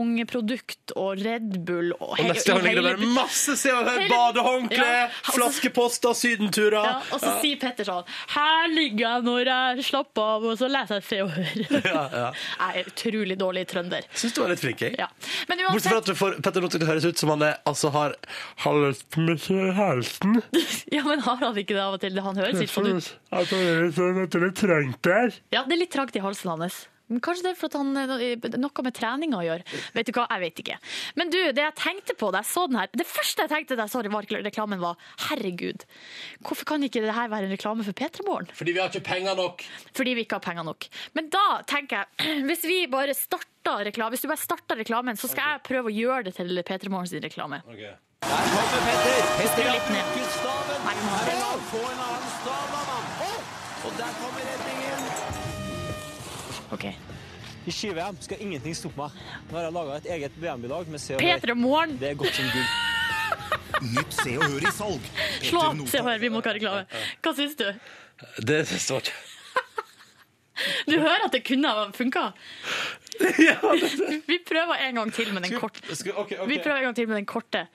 F: Samsung-produkt og Red Bull og,
B: Og
F: he-
B: neste gang
F: i
B: ligger det
F: hele
B: bare masse Se og Hør,
F: Hele-
B: badehåndkle,
F: Ja, altså-
B: flaskeposter, sydenturer.
F: ja, og så sier Petter sånn Her ligger jeg når jeg slapper av, og så leser jeg Se og Hør.
B: Ja, ja.
F: Jeg er utrolig dårlig trønder.
B: Syns du var litt flink, jeg.
F: Ja. Men
B: Bortsett
F: uansett,
B: fra at du får Petter Northug til å høres ut som han er, altså har halvt med halsen.
F: ja, men har han ikke det av og til? Han høres litt sånn ut.
B: At han er sånn at det er trangt der.
F: Ja, det er litt trangt i halsen hans. Men Kanskje det er for at han eh, noe med treninga å gjøre. Vet du hva, jeg vet ikke. Men du, det jeg tenkte på da jeg så den her Det første jeg tenkte da jeg så rekl- reklamen, var herregud, hvorfor kan ikke det her være en reklame for P3 Morgen?
B: Fordi vi har ikke penger nok.
F: Fordi vi ikke har penger nok. Men da tenker jeg, hvis vi bare starter reklame, hvis du bare starter reklamen, så skal jeg prøve å gjøre det til P3 Morgen sin reklame.
I: Der kommer Petter! Petter
F: Skru litt ned.
I: Gustaven!
F: Nei, nå-
I: Her er han! Få en annen stav, da, mann! Å! Og der kommer redningen!
F: Ok.
I: I ski-VM skal ingenting stoppe meg. Nå har jeg laga et eget VM-bilag med Se og Hør.
F: P3 Morgen,
I: Det er godt som gull.
J: Nytt Se og Hør i salg.
F: slå av! Se og hør, vi må ikke ha reklame. Hva syns du?
B: Det står ikke
F: Du hører at det kunne ha funka? Vi prøver en gang til med den korte. Vi prøver en gang til med den korte.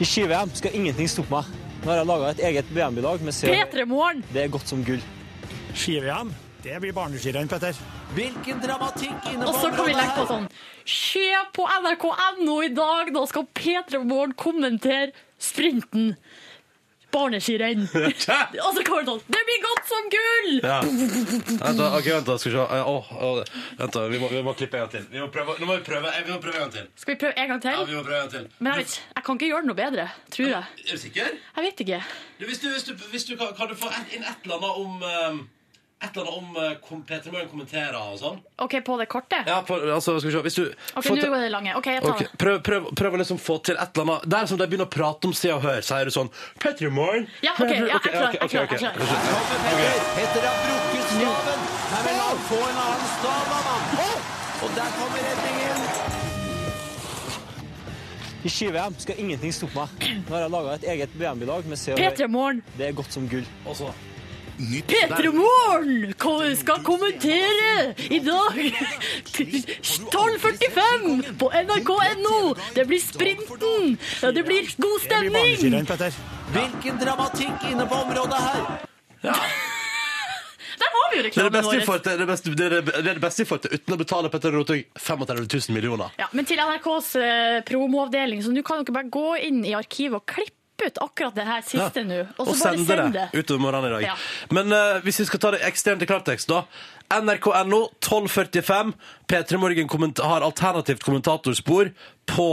I: I ski-VM skal ingenting stoppe meg. Nå har jeg laga et eget VM-bilag med Se og Hør.
F: P3 Morgen!
I: Det er godt som gull.
J: Ski-VM, det blir barneskirenn, Petter.
I: Hvilken dramatikk inne
F: Og så kan vi legge på sånn Se på nrk.no i dag, da skal P3 Morgen kommentere sprinten. barneskirenn! og så kommer det sånn Det blir godt som gull!
B: Ja. Vent, da, ok, vent, da. Skal vi se. Eh, åh, åh, vent, da. Vi må, vi må klippe en gang til. Vi må prøve, nå må vi prøve, eh, vi må prøve en gang til.
F: Skal vi prøve en gang
B: Ja,
F: til?
B: vi må prøve en gang til.
F: Men jeg, vet, jeg kan ikke gjøre det noe bedre, tror jeg.
B: Er du sikker?
F: Jeg vet ikke.
B: Du, hvis du, hvis du, hvis du kan, kan du få et, inn et eller annet om um, Et eller annet om eh, kom, Peter Møhlen kommenterer og sånn?
F: OK, på det kortet?
B: Ja, på, altså, skal vi se. Hvis du
F: OK,
B: få
F: nå
B: til-
F: går det lange. OK, jeg tar
B: Ok, prøv, prøv, prøv å liksom få til et eller annet Der som de begynner å prate om Se og Hør, sier du sånn Petter Morn
F: Ja, ok, ja, jeg er klar, jeg er klar, jeg er klar.
K: Petter har brukket staven. Nei, men la han få en annen stav, da, mann. Og der kommer redningen.
I: I ski-VM skal ingenting stoppe meg. Nå har jeg laga et eget BMB-lag med Se og
F: P3 Morgen.
I: Det er godt som gull.
B: Og så
F: Petre Morn ko- skal kommentere i dag 12.45 på nrk.no. Det blir sprinten, ja, det blir god stemning.
K: Hvilken dramatikk inne på området her.
F: Der har vi jo
B: Det er det
F: reklamen
B: beste vi
F: vår.
B: får til det er det beste- det er det- det er det beste vi får til Uten å betale Petter Rotøy 35 000 millioner
F: Ja, men til NRKs eh, promoavdeling, så nå kan dere bare gå inn i arkivet og klippe ut akkurat det her siste nå. Og så bare send det.
B: utover morgenen i dag.
F: Ja.
B: Men eh, hvis vi skal ta det ekstremt i klartekst, da. NRK.no 1245. P3 Morgen kommenta- har alternativt kommentatorspor på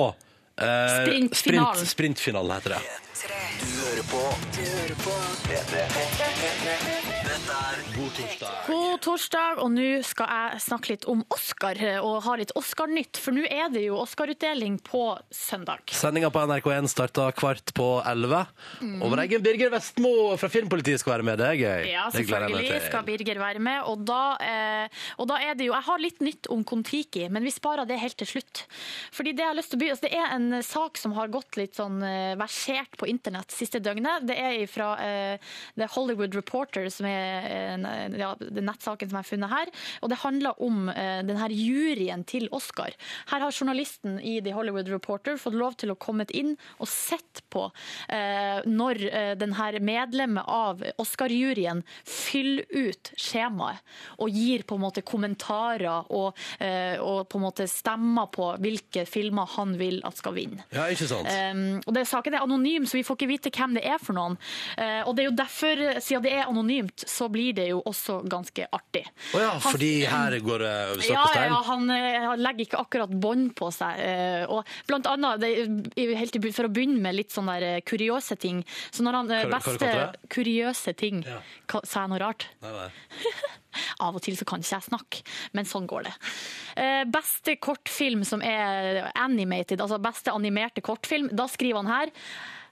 B: eh,
K: Sprintfinalen.
B: Sprint, sprintfinalen, heter det.
K: Du hører på. Du hører på. P3. Dette er God torsdag.
F: God torsdag, og nå skal jeg snakke litt om Oscar eh, og ha litt Oscar-nytt. For nå er det jo Oscar-utdeling på søndag.
B: Sendinga på NRK1 starta kvart på elleve.
F: Mm.
B: Og vår egen Birger Vestmo fra Filmpolitiet skal være med. Det er gøy.
F: Ja,
B: Det gleder jeg meg
F: selvfølgelig
B: til.
F: skal Birger være med. Og da, eh, og da er det jo Jeg har litt nytt om Kon-Tiki, men vi sparer det helt til slutt. Fordi det jeg har lyst til å by, altså, Det er en sak som har gått litt sånn eh, versert på internett siste døgnet. Det er fra eh, The Hollywood Reporter, som er eh, ja, den nettsaken som jeg har funnet her. Og det handler om eh, den her juryen til Oscar. Her har journalisten i The Hollywood Reporter fått lov til å komme inn og sett på eh, når eh, den her medlemmet av Oscar-juryen fyller ut skjemaet og gir på en måte kommentarer og, eh, og på en måte stemmer på hvilke filmer han vil at skal vinne.
B: Ja, ikke sant?
F: Um, og det, saken er anonym, så vi får ikke vite hvem det er for noen. Eh, og det er jo derfor, siden det er anonymt, så blir det jo også ganske artig.
B: Å ja,
F: Han-
B: fordi her går eh, det over stokk
F: ja,
B: og
F: ja,
B: stein?
F: ja, han, eh, han legger ikke akkurat bånd på seg. eh, Og blant annet, det, i- helt i begynnelsen- for å begynne med litt sånne der eh, kuriøse ting Så når han eh,
B: Hva- hva du
F: beste
B: kalte det?
F: kuriøse ting ka- Sa jeg noe rart?
B: Nei, nei.
F: Av og til så kan ikke jeg snakke, men sånn går det. Eh, Beste kortfilm som er animated, altså beste animerte kortfilm, da skriver han her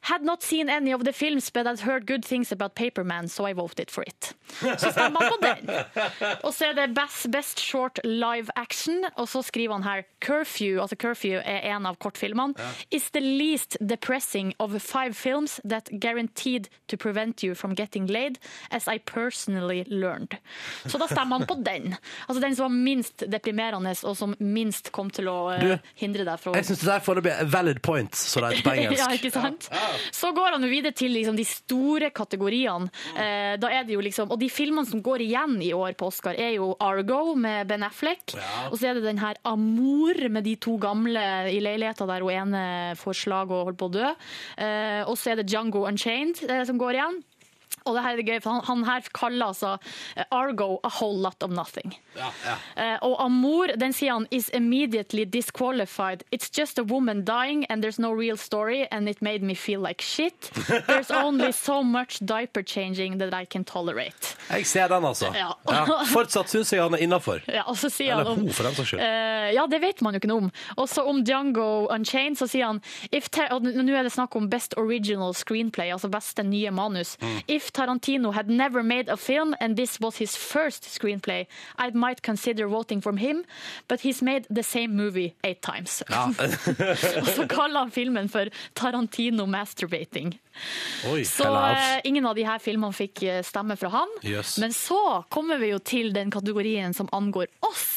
F: Had not seen any of the films, but I'd heard good things about Paperman, so I voted for it. Så stemmer han på den. Og så er det best, best Short Live Action, og så skriver han her Curfew, altså Curfew er en av kortfilmene, is the least depressing of five films that guaranteed to prevent you from getting laid, as I personally learned. Så da stemmer han på den. Altså den som var minst deprimerende, og som minst kom til å eh,
B: Du,
F: hindre deg fra
B: Jeg syns det der foreløpig er valid point, så det heter på engelsk.
F: ja, ikke sant? Så går han jo videre til liksom, de store kategoriene. Eh, da er det jo liksom, og de filmene som går igjen i år på Oscar, er jo Argo med Ben Affleck. Og så er det den her Amour med de to gamle i leiligheta der hun ene får slag og holder på å dø. Eh, og så er det Django Unchained eh, som går igjen. Og det her er gøy, for han, han her kaller altså eh, Argo a whole lot of nothing. Eh, og Amour, den sier han is immediately disqualified. It's just a woman dying and there's no real story and it made me feel like shit. There's only so much diaper changing that I can tolerate.
B: Jeg ser den, altså.
F: Ja.
B: Fortsatt syns jeg han er innafor.
F: Ja, og så sier
B: Eller
F: han om,
B: ho, for den saks skyld.
F: Eh, ja, det vet man jo ikke noe om. Og så om Django Unchained, så sier han if Tar- og Nå er det snakk om best original screenplay, altså beste nye manus. If Tarantino had never made a film and this was his first screenplay, I might consider voting for him, but he's made the same movie eight times.
B: Ja.
F: og så kaller han filmen for Tarantino Masturbating.
B: Oi,
F: Så
B: hellaus.
F: eh, ingen av de her filmene fikk eh, stemme fra han.
B: Yes.
F: Men så kommer vi jo til den kategorien som angår oss.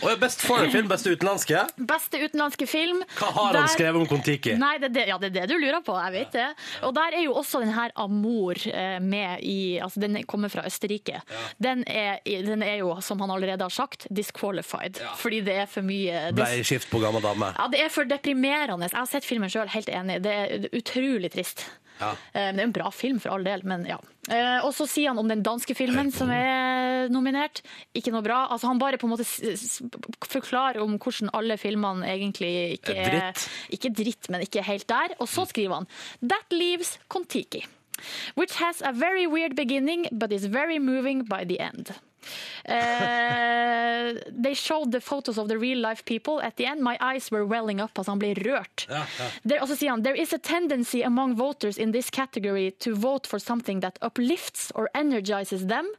B: Og best foreign-film, beste utenlandske.
F: Beste utenlandske film.
B: Hva har han
F: Der-
B: skrevet om Kon-Tiki?
F: Nei, det, er det, ja, det er det du lurer på, jeg vet det. Og der er jo også den her Amor eh, med i Altså, den kommer fra Østerrike. Den, er, i- den er jo, som han allerede har sagt, disqualified. Fordi det er for mye
B: Ble i skift på gammel dame.
F: ja, det er for deprimerende. Jeg har sett filmen sjøl, helt enig. Det er utrolig trist. Eh, men det er jo en bra film, for all del, men ja. Eh, Og så sier han om den danske filmen som er nominert. Ikke noe bra. Altså, han bare på en måte s- s- forklarer om hvordan alle filmene egentlig ikke
E: Er dritt. Mm.
F: Ikke dritt, men ikke helt der. Og så skriver han That leaves Kon-Tiki. Which has a very weird beginning, but is very moving by the end. Eh, they showed the photos of the real life people at the end. My eyes were welling up. Altså, han ble rørt. There, og så sier han There is a tendency among voters in this category to vote for something that uplifts or energizes them,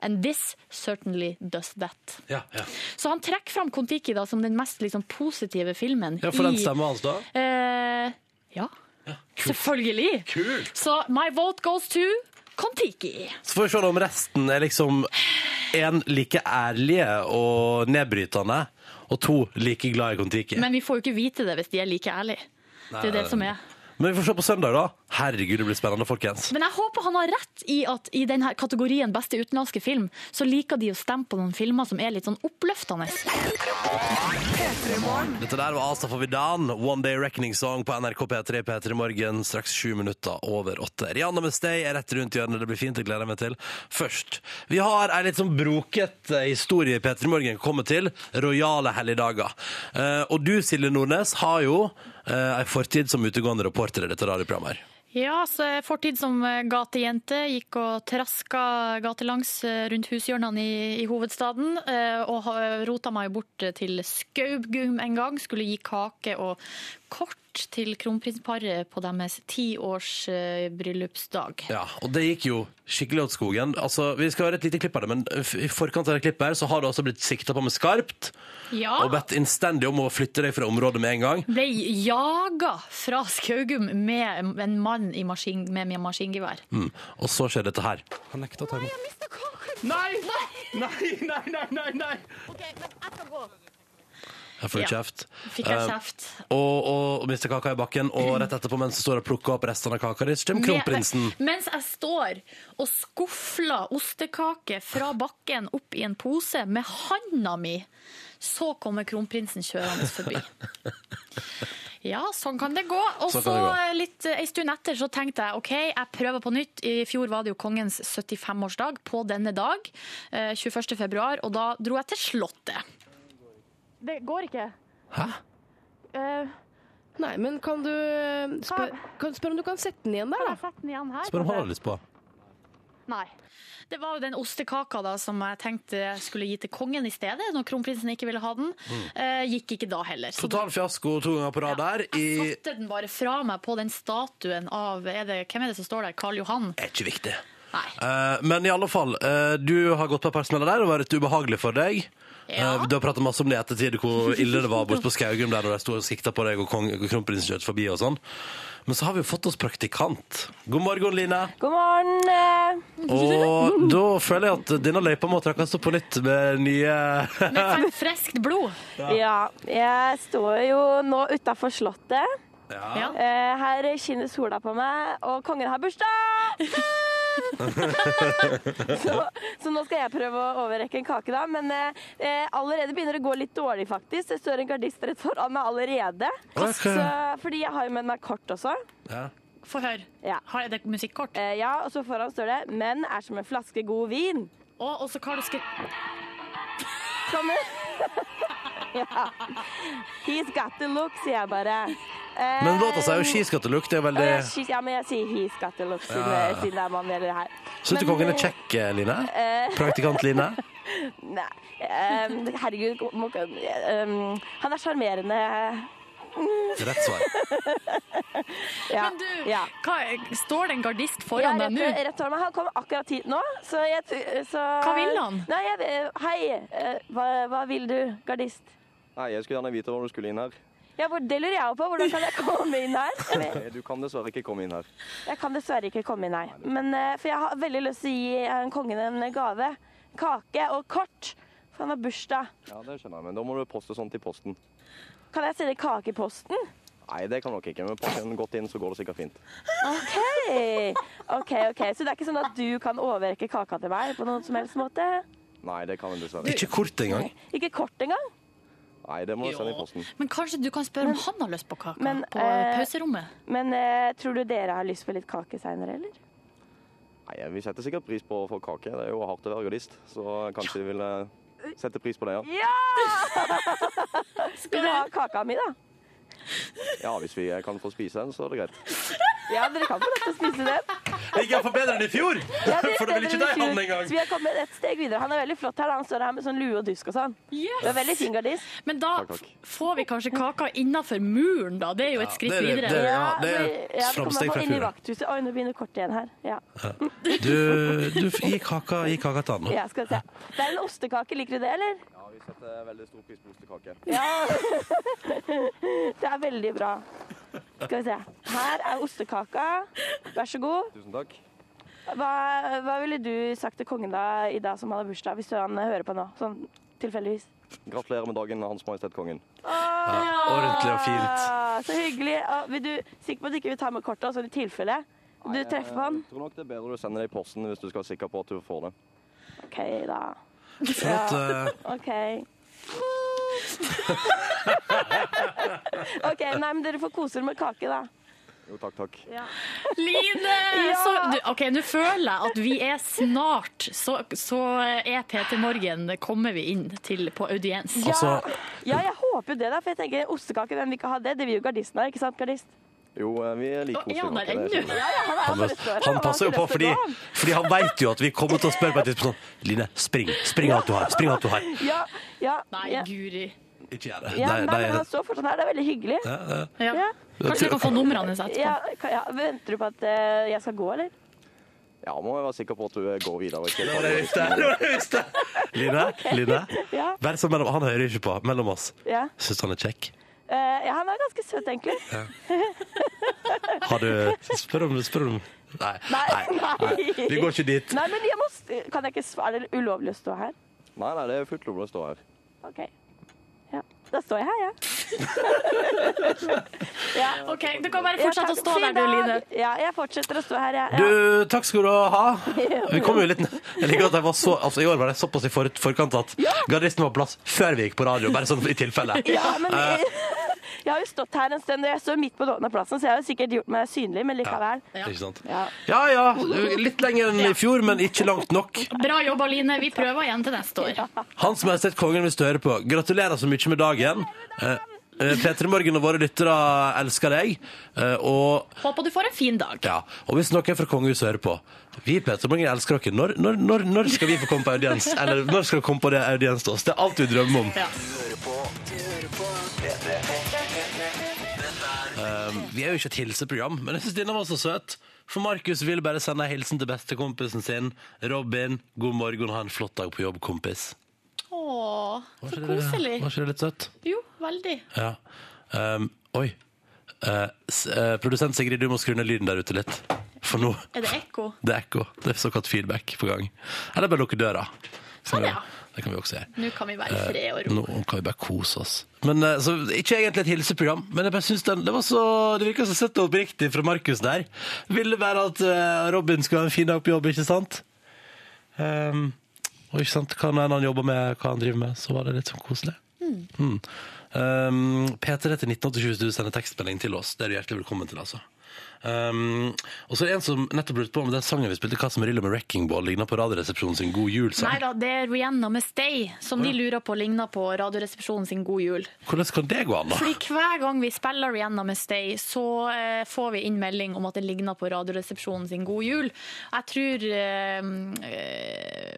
F: and this certainly does that.
B: Ja, ja.
F: Så han trekker fram Kon-Tiki da som den mest liksom, positive filmen.
B: ja for den
F: i-
B: stemmer hans, da?
F: Eh, ja. Selvfølgelig. Så my vote goes to Kon-Tiki.
B: Så får vi se da om resten er liksom en like ærlige og nedbrytende, og to like glad i Kon-Tiki.
F: Men vi får jo ikke vite det hvis de er like ærlige. Det er
B: Nei.
F: det som er.
B: Men vi får se på søndag, da. Herregud, det blir spennende, folkens.
F: Men jeg håper han har rett i at i denne kategorien beste utenlandske film, så liker de å stemme på noen filmer som er litt sånn oppløftende.
B: Dette der var Asa Favidan, One Day Reckoning Song på NRK P3 P3 Morgen, straks sju minutter over åtte. Rihanna med Stay er rett rundt hjørnet, det blir fint, det gleder jeg meg til. Først, vi har ei litt sånn broket eh, historie i P3 Morgen kommer til, rojale helligdager. Eh, og du, Silje Nordnes, har jo eh, ei fortid som utegående reporter i dette radioprogrammet. her.
F: Ja, så jeg fortid som gatejente gikk og traska gatelangs eh, rundt hushjørnene i, i hovedstaden. eh, Og ha- rota meg bort til Skaugum en gang. Skulle gi kake og kort til kronprinsparet på deres ti års eh, bryllupsdag.
B: Ja, og det gikk jo skikkelig åt skogen. Altså, vi skal høre et lite klipp av det, men f- i forkant av det klippet her, så har du altså blitt sikta på med skarpt,
F: Ja.
B: og bedt innstendig om å flytte deg fra området med en gang.
F: Ble jaga fra Skaugum med en mann i maskin, med, med maskingevær.
B: Mm. Og så skjer dette her. Han nekta å ta imot.
K: Nei! Nei, nei, nei, nei, nei!
B: Jeg får jo
F: Ja.
B: kjeft.
F: Fikk jeg
B: Eh,
F: kjeft.
B: og, og mister kaka i bakken, og rett etterpå mens du står og plukker opp restene av kaka di, så kommer kronprinsen.
F: Med- Mens jeg står og skufler ostekake fra bakken opp i en pose med handa mi, så kommer kronprinsen kjørende forbi. Ja, sånn kan det gå. Og
E: Sånn
F: så
E: kan det gå.
F: eh, litt eh, en stund etter så tenkte jeg OK, jeg prøver på nytt. I fjor var det jo kongens 75-årsdag på denne dag, eh, 21. februar, og da dro jeg til Slottet. Det går ikke. Eh,
B: Hæ?
L: Nei, men kan du eh, spør, kan, spør om du kan sette den igjen der, da?
B: Spør om han har lyst på.
F: Nei. Det var jo den ostekaka da, som jeg tenkte jeg skulle gi til kongen i stedet, når kronprinsen ikke ville ha den.
B: Mm.
F: Eh, gikk ikke da heller. Så
B: Total fiasko to ganger på rad der. I
F: satte den bare fra meg på den statuen av er det, Hvem er det som står der? Karl Johan?
B: er ikke viktig.
F: Nei.
B: Eh, men i alle fall, eh, du har gått på et par smeller der og vært ubehagelig for deg. Eh, du har pratet masse om det i ettertid, hvor ille det var borte på Skaugum der når de sto og sikta på deg og kong- og kronprinsen kjørte forbi og sånn. Men så har vi jo fått oss praktikant. God morgen, Line.
M: God morgen.
B: Og da føler jeg at denne løypa må trakkes opp på nytt med nye eh.
F: sånn friskt blod.
M: Ja. Jeg står jo nå utafor Slottet.
B: Ja.
M: Eh, Her skinner sola på meg, og kongen har bursdag! Så, så nå skal jeg prøve å overrekke en kake, da. Men eh, eh, allerede begynner det å gå litt dårlig, faktisk. Det står en gardist rett foran meg allerede.
F: Ok.
M: Så, fordi jeg har jo med meg kort også.
F: Få høre. Har jeg det musikkort?
M: Eh, ja, og så foran står det 'Menn er som en flaske god vin'.
F: Og så kan du skrive
M: Kommer. ja. He's got the look, sier jeg bare. Eh,
B: Men låta sier jo 'She's Got a Look'. Det er veldig
M: eh, she's- Ja, men jeg sier 'he's got the look', siden,
B: Ja.
M: siden det er mann gjelder her.
B: Syns du
M: Men,
B: kongen er
M: eh,
B: kjekk, Line?
M: eh,
B: Praktikant Line?
M: Nei. em, herregud, må, ikke- em, han er sjarmerende.
B: Rett svar.
M: Ja,
F: Men du,
M: ja.
F: hva, står det en gardist
M: Ja,
F: foran
M: rett,
F: deg nå?
M: rett foran meg. Han kom akkurat hit nå. Så jeg, t- så,
F: Hva vil han?
M: Nei, jeg, hei, eh, hva, hva vil du, gardist?
N: Nei, jeg skulle gjerne vite hvor du skulle inn her.
M: Ja, hvor- det lurer jeg også på. Hvordan kan jeg komme inn her?
N: Nei, Du kan dessverre ikke komme inn her.
M: Jeg kan dessverre ikke komme inn, nei. Men, eh, for jeg har veldig lyst til å gi eh, kongen en gave. Kake og kort. For han har bursdag.
N: Ja, det skjønner jeg, men da må du poste sånn til posten.
M: Kan jeg sende kake i posten?
N: Nei, det kan du nok ikke, men pass den godt inn, så går det sikkert fint.
M: OK. ok, ok. Så det er ikke sånn at du kan overrekke kaka til meg på noen som helst måte?
N: Nei, det kan du dessverre
B: Ikke kort engang.
M: Ikke kort engang?
N: Nei, det må du sende i posten.
F: Men kanskje du kan spørre om han har lyst på kake
M: Men,
F: på
M: eh,
F: pauserommet?
M: Men eh, tror du dere har lyst på litt kake seinere, eller?
N: Nei, Vi setter sikkert pris på å få kake. Det er jo hardt å være gardist, så kanskje de vil eh, sette pris på det, ja.
M: Skal du ha kaka mi, da?
N: Ja, Hvis vi eh, kan få spise den, så er det greit.
M: Ja, dere kan få lov til å spise den.
B: Ikke iallfall bedre enn i fjor!
M: Ja, det er
B: For det blir
M: bedre
B: ikke
M: enn i
B: deg han
M: fjor.
B: engang.
M: Så vi har kommet et steg videre. Han er veldig flott her. da. Han står her med sånn lue og dusk og sånn.
F: Yes!
M: Du er veldig fin gardist.
F: Men da får vi kanskje kaka innafor muren, da. Det er jo et skritt
B: det er-
F: videre.
B: det er- ja, det er
M: Ja, vi kommer
B: framsteg fra
M: inn i
B: fjor.
M: vakthuset. Oi, nå begynner kortet igjen her. Ja.
B: Du, du gi kaka, gi kaka til han nå.
M: ja, skal vi se. Det er en ostekake. Liker du det, eller?
N: Ja, Vi setter veldig stor pris på ostekake.
M: Ja. Det er veldig bra. Skal vi se. Her er ostekaka. Vær så god.
N: Tusen takk.
M: Hva, hva ville du sagt til kongen da i dag som hadde bursdag, hvis han hører på nå? Sånn tilfeldigvis.
N: Gratulerer med dagen, Hans Majestet Kongen.
M: Ja,
N: ordentlig og fint.
M: Ah, Så hyggelig. Å, Vil du sikker på at du ikke vil ta med kortet, sånn i tilfelle du treffer på han?
N: Eh, Jeg tror nok det er bedre du sender det i posten hvis du skal være sikker på at du får det.
M: OK, da.
N: For at,
B: eh,
M: Ja, OK. OK, nei, men dere får kose dere med kake, da.
N: Jo, takk, takk.
F: Line! Så, du, ok, Nå føler jeg at vi er snart, så, så er PT Morgen Kommer vi inn til, på audiens?
M: Ja, Altså- ja jeg håper jo det, da. For jeg tenker ostekake, hvem vil ikke ha det? Det vil jo gardisten her, ikke sant, gardist?
N: Jo, eh, vi liker
M: Å, er han der
N: ostekake. det
M: ennå?
N: skjønner jeg.
M: Ja, ja, han er
B: Han,
M: allerede stående.
B: han passer jo på, fordi,
M: Han har ikke lyst til å gå.
B: fordi han veit jo at vi kommer til å spørre på et tidspunkt sånn Line, spring! Spring alt du har! Spring alt du har!
M: Ja, ja.
F: Nei,
M: ja.
F: guri.
B: Ikke gjør det.
M: Ja, nei,
B: Nei,
M: men han
B: nei.
M: står fortsatt her. Det er veldig hyggelig.
B: Ja, ja.
F: Ja. Kanskje vi kan få numrene hans etterpå?
M: Ja, ka- ja, venter du på at eh, jeg skal gå, eller?
N: Ja, må jeg være sikker på at du eh, går videre. og ikke
B: Det
N: tar
B: var det jeg visste.
N: posten.
B: Det var det jeg visste. Line, Line.
M: Ja.
B: Vær så mellom, han hører ikke på. Mellom oss.
M: Ja.
B: Syns han er kjekk.
M: Eh, ja, han er ganske søt, egentlig.
B: Ja. Har du Spør om Spør om Nei.
M: Nei, nei.
B: Vi går ikke dit.
M: Nei, men jeg må, s- kan jeg ikke svare? Er det ulovlig å stå her?
N: Nei, nei, det er fullt lov å stå her.
M: OK. Ja, da står jeg her, jeg. Ja.
F: OK, du kan bare fortsette å
M: Ja, takk.
F: stå der,
M: Fin
F: du,
M: dag.
F: Line.
M: Ja, jeg fortsetter å stå her, jeg.
B: Du, takk skal du ha. Vi kom jo litt ned. Jeg liker at jeg var så altså, I år var det såpass i for, forkant at gardisten var på plass før vi gikk på radio, bare sånn i tilfelle.
M: Ja, men jeg,
B: Eh,
M: jeg har jo stått her en stund, og jeg står midt på den åpne plassen, så jeg har jo sikkert gjort meg synlig, men likevel.
B: Ikke sant?
M: Ja.
B: Ja ja, litt lenger enn i fjor, men ikke langt nok.
F: Bra jobba, Line. Vi prøver igjen til neste år.
B: Hans Majestet Kongen vil støre på. Gratulerer så mye med dagen. P3 Morgen og våre lyttere elsker deg. Eh, Og,
F: Håper du får en fin dag.
B: ja, og hvis noen fra kongehuset hører på Vi i P3 Morgen elsker dere. Når, når, når, når skal vi få komme på audiens? Eller når skal dere komme på det audiens til oss? Det er alt vi drømmer om. Eh, vi er jo ikke et hilseprogram, men jeg syns denne var så søt. For Markus vil bare sende en hilsen til bestekompisen sin. Robin, god morgen, ha en flott dag på jobb, kompis.
F: Å, så
B: Var ikke det-
F: koselig.
B: Var ikke det litt søtt?
F: Jo, veldig.
B: Ja. Um, oi. Eh, s- eh, produsent Sigrid, du må skru ned lyden der ute litt. For nå
F: Er det ekko?
B: det er ekko. Det er såkalt feedback på gang. Eller bare lukke døra.
F: Sånn, ja.
B: Det kan vi også gjøre.
F: Nå kan vi være i fred og
B: Eh,
F: ro.
B: Nå kan vi bare kose oss. Men, eh, så, ikke egentlig et hilseprogram, men jeg bare synes den, det, var så, det virka så søtt og oppriktig fra Markus der. Ville være at eh, Robin skulle ha en fin dag på jobb, ikke sant? Ehm, og ikke sant, hva enn han jobber med, hva han driver med, så var det litt sånn koselig.
K: Mm.
B: Mm. Um, P3 til 1987 hvis du sender tekstmelding til oss. Det er du hjertelig velkommen til, altså. Um, og så er det en som nettopp lurte på om den sangen vi spilte, Hva som ruller med Wrecking Ball, ligner på Radioresepsjonen sin God jul-sang.
F: Nei da, det er Rihanna med Stay, som de lurer på ligner på Radioresepsjonen sin God jul.
B: Hvordan kan det gå an, da?
F: Fordi hver gang vi spiller Rihanna med Stay, så eh, får vi inn melding om at den ligner på Radioresepsjonen sin God jul. Jeg tror eh, eh,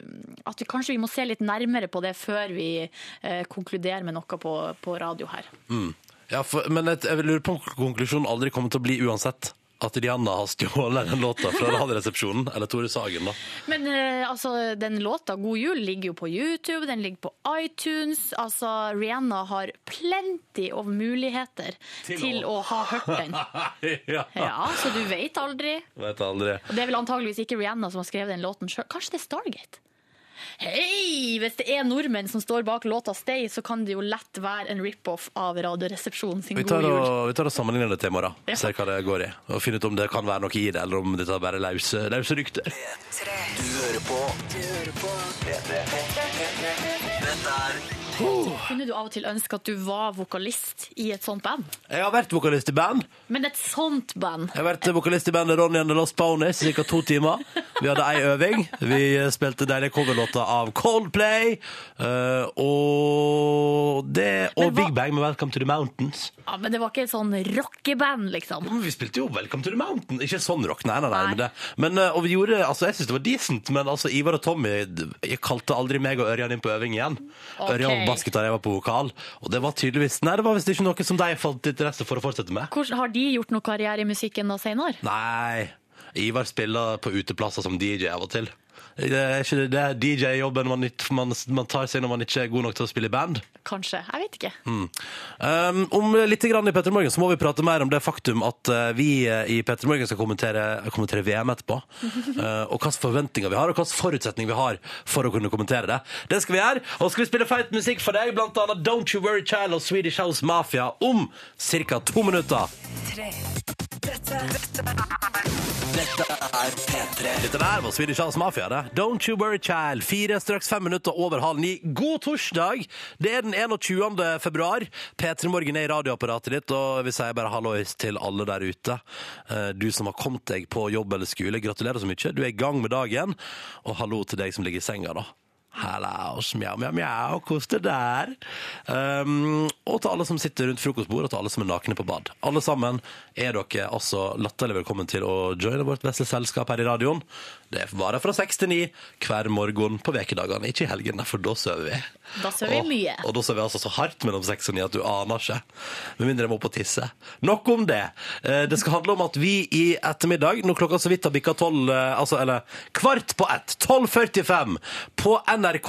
F: at vi kanskje vi må se litt nærmere på det før vi eh, konkluderer med noe på, på radio her.
B: Mm. Ja, for, men jeg, jeg lurer på om konklusjonen aldri kommer til å bli uansett. At Rihanna har stjålet den låta fra Radioresepsjonen, eller Tore Sagen, da.
F: Men eh, altså, den låta God jul ligger jo på YouTube, den ligger på iTunes. Altså, Rihanna har plenty av muligheter til, å ha hørt den.
B: ja.
F: Ja, så du vet aldri.
B: Vet aldri.
F: Og det er vel antageligvis ikke Rihanna som har skrevet den låten sjøl. Kanskje det er Stargate? Hei! Hvis det er nordmenn som står bak låta Stay, så kan det jo lett være en rip-off av Radioresepsjonen sin
B: Vi tar,
F: God jul.
B: og, vi tar og sammenligner det til i morgen,
F: Ja.
B: ser hva det går i. Og finner ut om det kan være noe i det, eller om dette er bare lause, lause rykter.
K: Du hører på. Dette er
F: Kunne du av og til ønske at du var vokalist i et sånt band?
B: Jeg har vært vokalist i band.
F: Men et sånt band?
B: Jeg har vært vokalist i bandet Ronny and the Lost Ponies i ca. to timer. Vi hadde ei øving. Vi spilte deilige coverlåter av Coldplay. eh, og det, og Big Bang med Welcome to the Mountains.
F: Ja, men det var ikke et sånn rockeband, liksom.
B: Men vi spilte jo Welcome to the Mountain. Ikke sånn rock, nei, nei, nei. Men det. Men, eh, og vi gjorde, altså, jeg syns det var decent, men altså, Ivar og Tommy jeg kalte aldri meg og Ørjan inn på øving igjen.
F: Ok.
B: Ørjan basket da jeg var på vokal, og det var tydeligvis Nei, det var visst ikke noe som de fant interesse for å fortsette med.
F: Hvordan, har de gjort noe karriere i musikken da senere?
B: Nei. Ivar spiller på uteplasser som DJ av og til. Det er ikke det DJ-jobben man, ikke- man, man tar seg når man ikke er god nok til å spille i band.
F: Kanskje. Jeg vet ikke.
B: Mm. Um, om litt grann i Petter Morgen så må vi prate mer om det faktum at eh, vi eh, i Petter Morgen skal kommentere, kommentere VM etterpå. Eh, og hvilke forventninger vi har, og hvilke forutsetninger vi har for å kunne kommentere det. Det skal vi gjøre. Og skal vi spille feit musikk for deg, blant annet Don't You Worry Child og Swedish House Mafia om ca. to minutter.
K: Dette er P3.
B: Dette der var Swedish House Mafia, det. Don't you worry, child. Fire, straks fem minutter over halv ni. God torsdag! Det er den 21. februar. P3 Morgen er i radioapparatet ditt, og vi sier bare hallois til alle der ute. Eh, Du som har kommet deg på jobb eller skole, gratulerer så mye. Du er i gang med dagen. Og hallo til deg som ligger i senga, da. Hallaus, mjau, mjau, mjau, kos det der. Um, og til alle som sitter rundt frokostbord, og til alle som er nakne på bad. Alle sammen er dere altså latterlig velkommen til å joine vårt vesle selskap her i radioen. Det varer fra seks til ni hver morgen på vekedagene, ikke i helgene, for da sover vi.
F: Da sover
B: Og-
F: vi mye.
B: Og da sover vi altså så hardt mellom seks og ni at du aner ikke. Med mindre jeg må på tisse. Nok om det. Eh, Det skal handle om at vi i ettermiddag, når klokka så vidt har bikka tolv, eh, altså eller kvart på ett, 12.45, på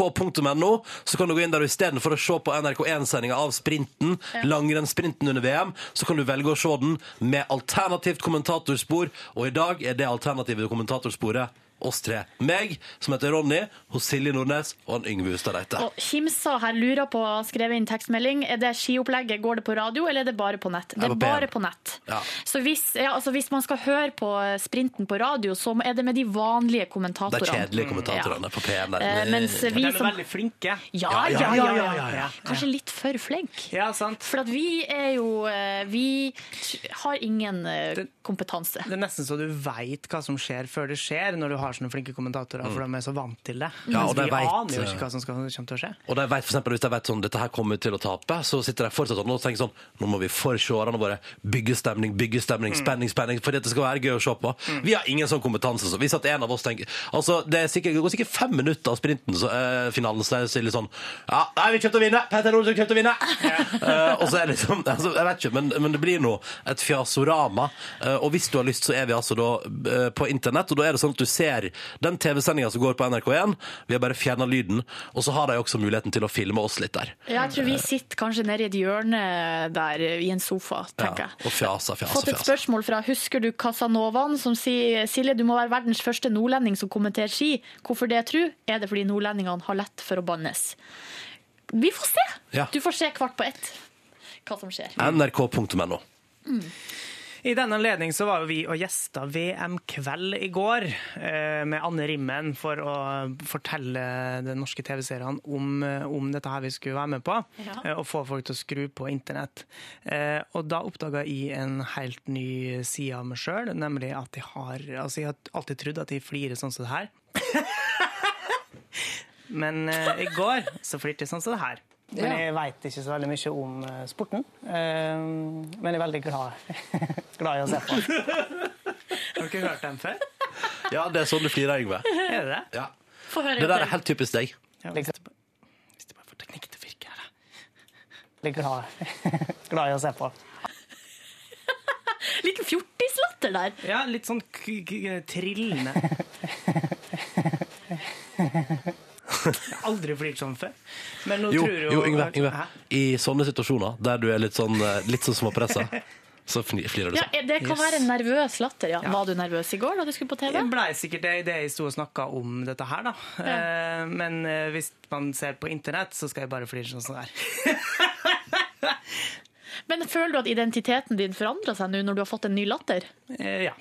B: nrk.no, så kan du gå inn der og istedenfor å se på NRK1-sendinga av sprinten, langrennssprinten under VM, så kan du velge å se den med alternativt kommentatorspor, og i dag er det alternative kommentatorsporet oss tre. Meg, som heter Ronny, hos Silje Nordnes og han Yngve Hustad Reite.
F: Og Kimsa her lurer på, skrev inn tekstmelding, er det skiopplegget, går det på radio, eller er det bare på nett? Det
B: på
F: er
B: P1.
F: bare på nett.
B: Ja.
F: Så hvis, ja, altså hvis man skal høre på sprinten på radio, så er det med de vanlige
B: Det
F: kommentatorene.
B: er kjedelige kommentatorene på P1. der.
F: Mm, Eh, mens vi
E: De er
F: som-
E: veldig flinke.
F: Ja, ja, ja, ja, ja,
E: ja.
F: Kanskje litt for flink. Ja, sant. For at vi er jo eh, Vi har ingen eh, kompetanse.
E: Det er nesten så du veit hva som skjer før det skjer, når du har sånne flinke kommentatorer, for de er så vant til det.
B: Mm. Ja,
E: Mens
B: og de
E: vi
B: vet,
E: aner jo
B: eh,
E: ikke hva som skal, kommer til å skje.
B: Og de vet for eksempel, Hvis de vet sånn, dette her kommer vi til å tape, så sitter de fortsatt sånn, og tenker sånn Nå må vi for seerne våre bygge stemning, bygge stemning,
K: Mm.
B: spenning, spenning. For dette skal være gøy å se på.
F: Mm.
B: Vi har ingen sånn kompetanse. Så hvis at en av oss tenker altså, Det, er sikkert, det går sikkert fem minutter av sprinten, så eh, finalen så er det litt sånn Ja, nei, vi kommer til å vinne! Petter Olsen kommer til å vinne! Eh, og så er det liksom altså, Jeg vet ikke, men, men det blir nå et fjasorama. Eh, og hvis du har lyst, så er vi altså da eh, på internett, og da er det sånn at du ser den TV-sendinga som går på NRK1. Vi har bare fjerna lyden, og så har de også muligheten til å filme oss litt der.
F: Ja, jeg tror vi sitter kanskje nede i et hjørne der eh, i en sofa, tenker jeg.
B: Og fjasa, fjasa,
F: Fått et
B: fjasa.
F: spørsmål fra Husker du Casanovaen som sier Silje, du må være verdens første nordlending som kommenterer ski. Hvorfor det, tru? Er det fordi nordlendingene har lett for å bannes? Vi får se.
B: Ja.
F: Du får se kvart på ett hva som skjer.
B: NRK.no.
E: I denne anledning så var jo vi og gjesta VM-kveld i går eh, med Anne Rimmen for å fortelle de norske TV-seerne om, eh, om dette her vi skulle være med på,
K: Ja.
E: eh, og få folk til å skru på internett. Eh, Og da oppdaga jeg en helt ny side av meg sjøl, nemlig at jeg har Altså, jeg har alltid trodd at jeg flirer sånn som det her. Men eh, i går så flirte jeg sånn som det her. Men
K: Ja.
E: jeg veit ikke så veldig mye om eh, sporten. Eh, men jeg er veldig glad, glad i å se på. Har du ikke hørt den før?
B: Ja, det er sånn du flirer, Yngve.
E: Er det det?
B: Ja. Det der er helt typisk deg.
E: Liksom, hvis du bare får teknikk til å virke her, da. Veldig glad, glad i å se på.
F: Litt fjortislatter der.
E: Ja, litt sånn k k trillende. Jeg har aldri flirt sånn før. Men nå
B: Jo,
E: tror jeg
B: jo Yngve, Yngve.
E: Hæ?
B: I sånne situasjoner der du er litt sånn, eh, litt sånn småpressa, så fni- flirer du
F: Ja,
B: sånn.
F: det kan være en nervøs latter, ja. Var du nervøs i går da du skulle på TV?
E: Jeg blei sikkert det idet jeg sto og snakka om dette her, da. Eh, Men eh, hvis man ser på internett, så skal jeg bare flire sånn som det er.
F: Men føler du at identiteten din forandrer seg nå når du har fått en ny latter?
E: Eh, Ja.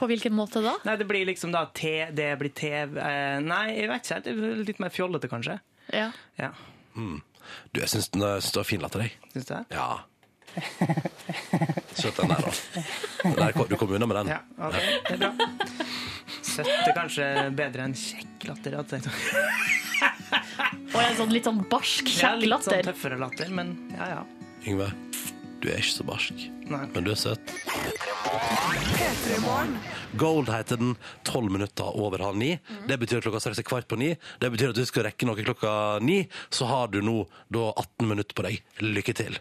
F: På hvilken måte da?
E: Nei, det blir liksom da T, det blir TV eh, Nei, jeg vet ikke. Det blir litt mer fjollete, kanskje.
F: Ja.
E: Ja.
B: Mm. Du, jeg syns den jeg syns det var fin latter, jeg.
E: Syns du det?
B: Ja. Søt den der, da. Den der kom- du kom unna med den.
E: Ja, ok, det er bra. Søtt er kanskje bedre enn kjekk latter. At det
F: Og en sånn litt sånn barsk,
E: Ja,
F: kjekk
E: litt sånn
F: latter.
E: tøffere latter, men ja, ja.
B: Yngve, du er ikke så barsk, men du er søt. Gold heter den, tolv minutter over halv ni. Det betyr at klokka straks er kvart på ni. Det betyr at du skal rekke noe klokka ni. Så har du nå da 18 minutter på deg. Lykke til.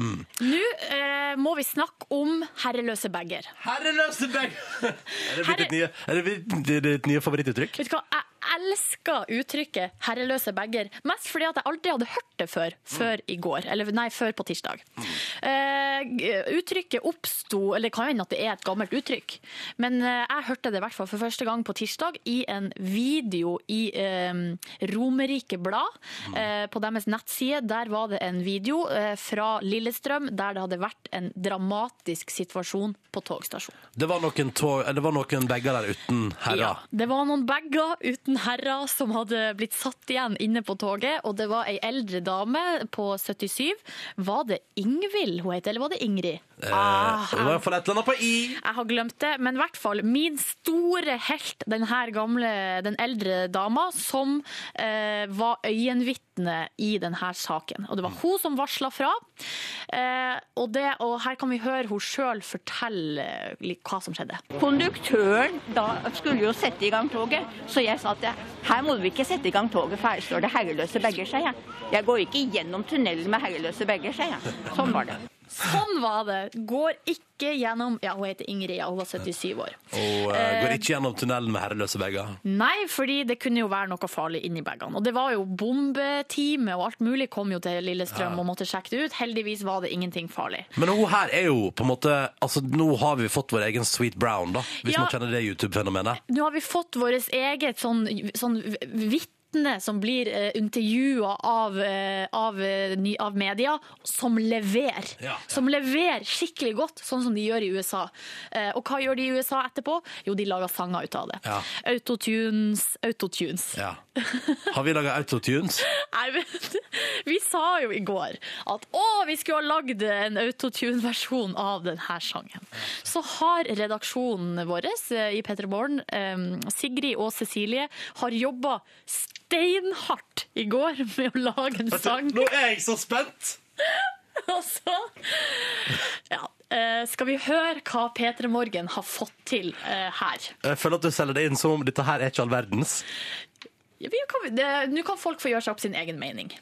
B: Mm.
F: Nå eh, må vi snakke om herreløse bager.
B: Herreløse bager! Er det blitt ditt nye, er det blitt ditt- ditt nye favorittuttrykk?
F: Vet du hva, jeg elsker uttrykket 'herreløse bager', mest fordi at jeg aldri hadde hørt det før, før i går, eller nei, før på tirsdag. Eh, g- uttrykket oppsto, eller det kan jo hende at det er et gammelt uttrykk, men eh, jeg hørte det i hvert fall for første gang på tirsdag i en video i eh, Romerike Blad. Eh, på deres nettside der var det en video eh, fra Lillestrøm der det hadde vært en dramatisk situasjon på togstasjonen.
B: Det var noen, tog, eller det var noen bager der uten herra.
F: Det var noen bager uten herrer som hadde blitt satt igjen inne på toget, og det var ei eldre dame på 77. Var det Ingvild hun het, eller var det Ingrid?
B: Eh, det var i hvert fall et eller annet på i.
F: Jeg har glemt det, men i hvert fall min store helt, den her gamle, den eldre dama, som eh, var øyenvitne i denne saken. Og det var hun som varsla fra. Eh, og, det, og her kan vi høre hun sjøl fortelle eh, litt hva som skjedde.
O: Konduktøren da skulle jo sette i gang toget, så jeg sa at jeg- her må vi ikke sette i gang toget, for her står det herreløse bager, sa jeg. Jeg går ikke gjennom tunnelen med herreløse bager, sa jeg. Sånn var det.
F: Sånn var det. Går ikke gjennom Ja, hun heter Ingrid, ja, hun var 77 år.
B: Og eh, går ikke gjennom tunnelen med herreløse bager.
F: Nei, fordi det kunne jo være noe farlig inni bagene. Og det var jo bombeteamet og alt mulig kom jo til Lillestrøm og måtte sjekke det ut. Heldigvis var det ingenting farlig.
B: Men hun her er jo på en måte Altså, nå har vi fått vår egen Sweet Brown, da. Hvis
F: Ja.
B: man kjenner det YouTube-fenomenet.
F: Nå har vi fått vårt eget sånn, sånn vitne som blir eh, intervjua av, eh, av, eh, ny- av media, som leverer.
M: Ja.
F: Som leverer skikkelig godt, sånn som de gjør i USA. Eh, og hva gjør de i USA etterpå? Jo, de lager sanger ut av det.
B: Ja.
F: Autotunes, autotunes.
B: Ja. Har vi laga autotunes?
F: Nei, men vi sa jo i går at å, vi skulle ha lagd en autotune-versjon av denne sangen. Så har redaksjonen vår eh, i Petter Born, eh, Sigrid og Cecilie, har jobba steinhardt i går med å lage en sang.
B: Nå er jeg så spent!
F: Og så ja, eh, skal vi høre hva P3 Morgen har fått til eh, her.
B: Jeg føler at du selger det inn som om dette her er ikke all verdens.
F: Ja, vi kan- det- Nå kan folk få gjøre seg opp sin egen mening.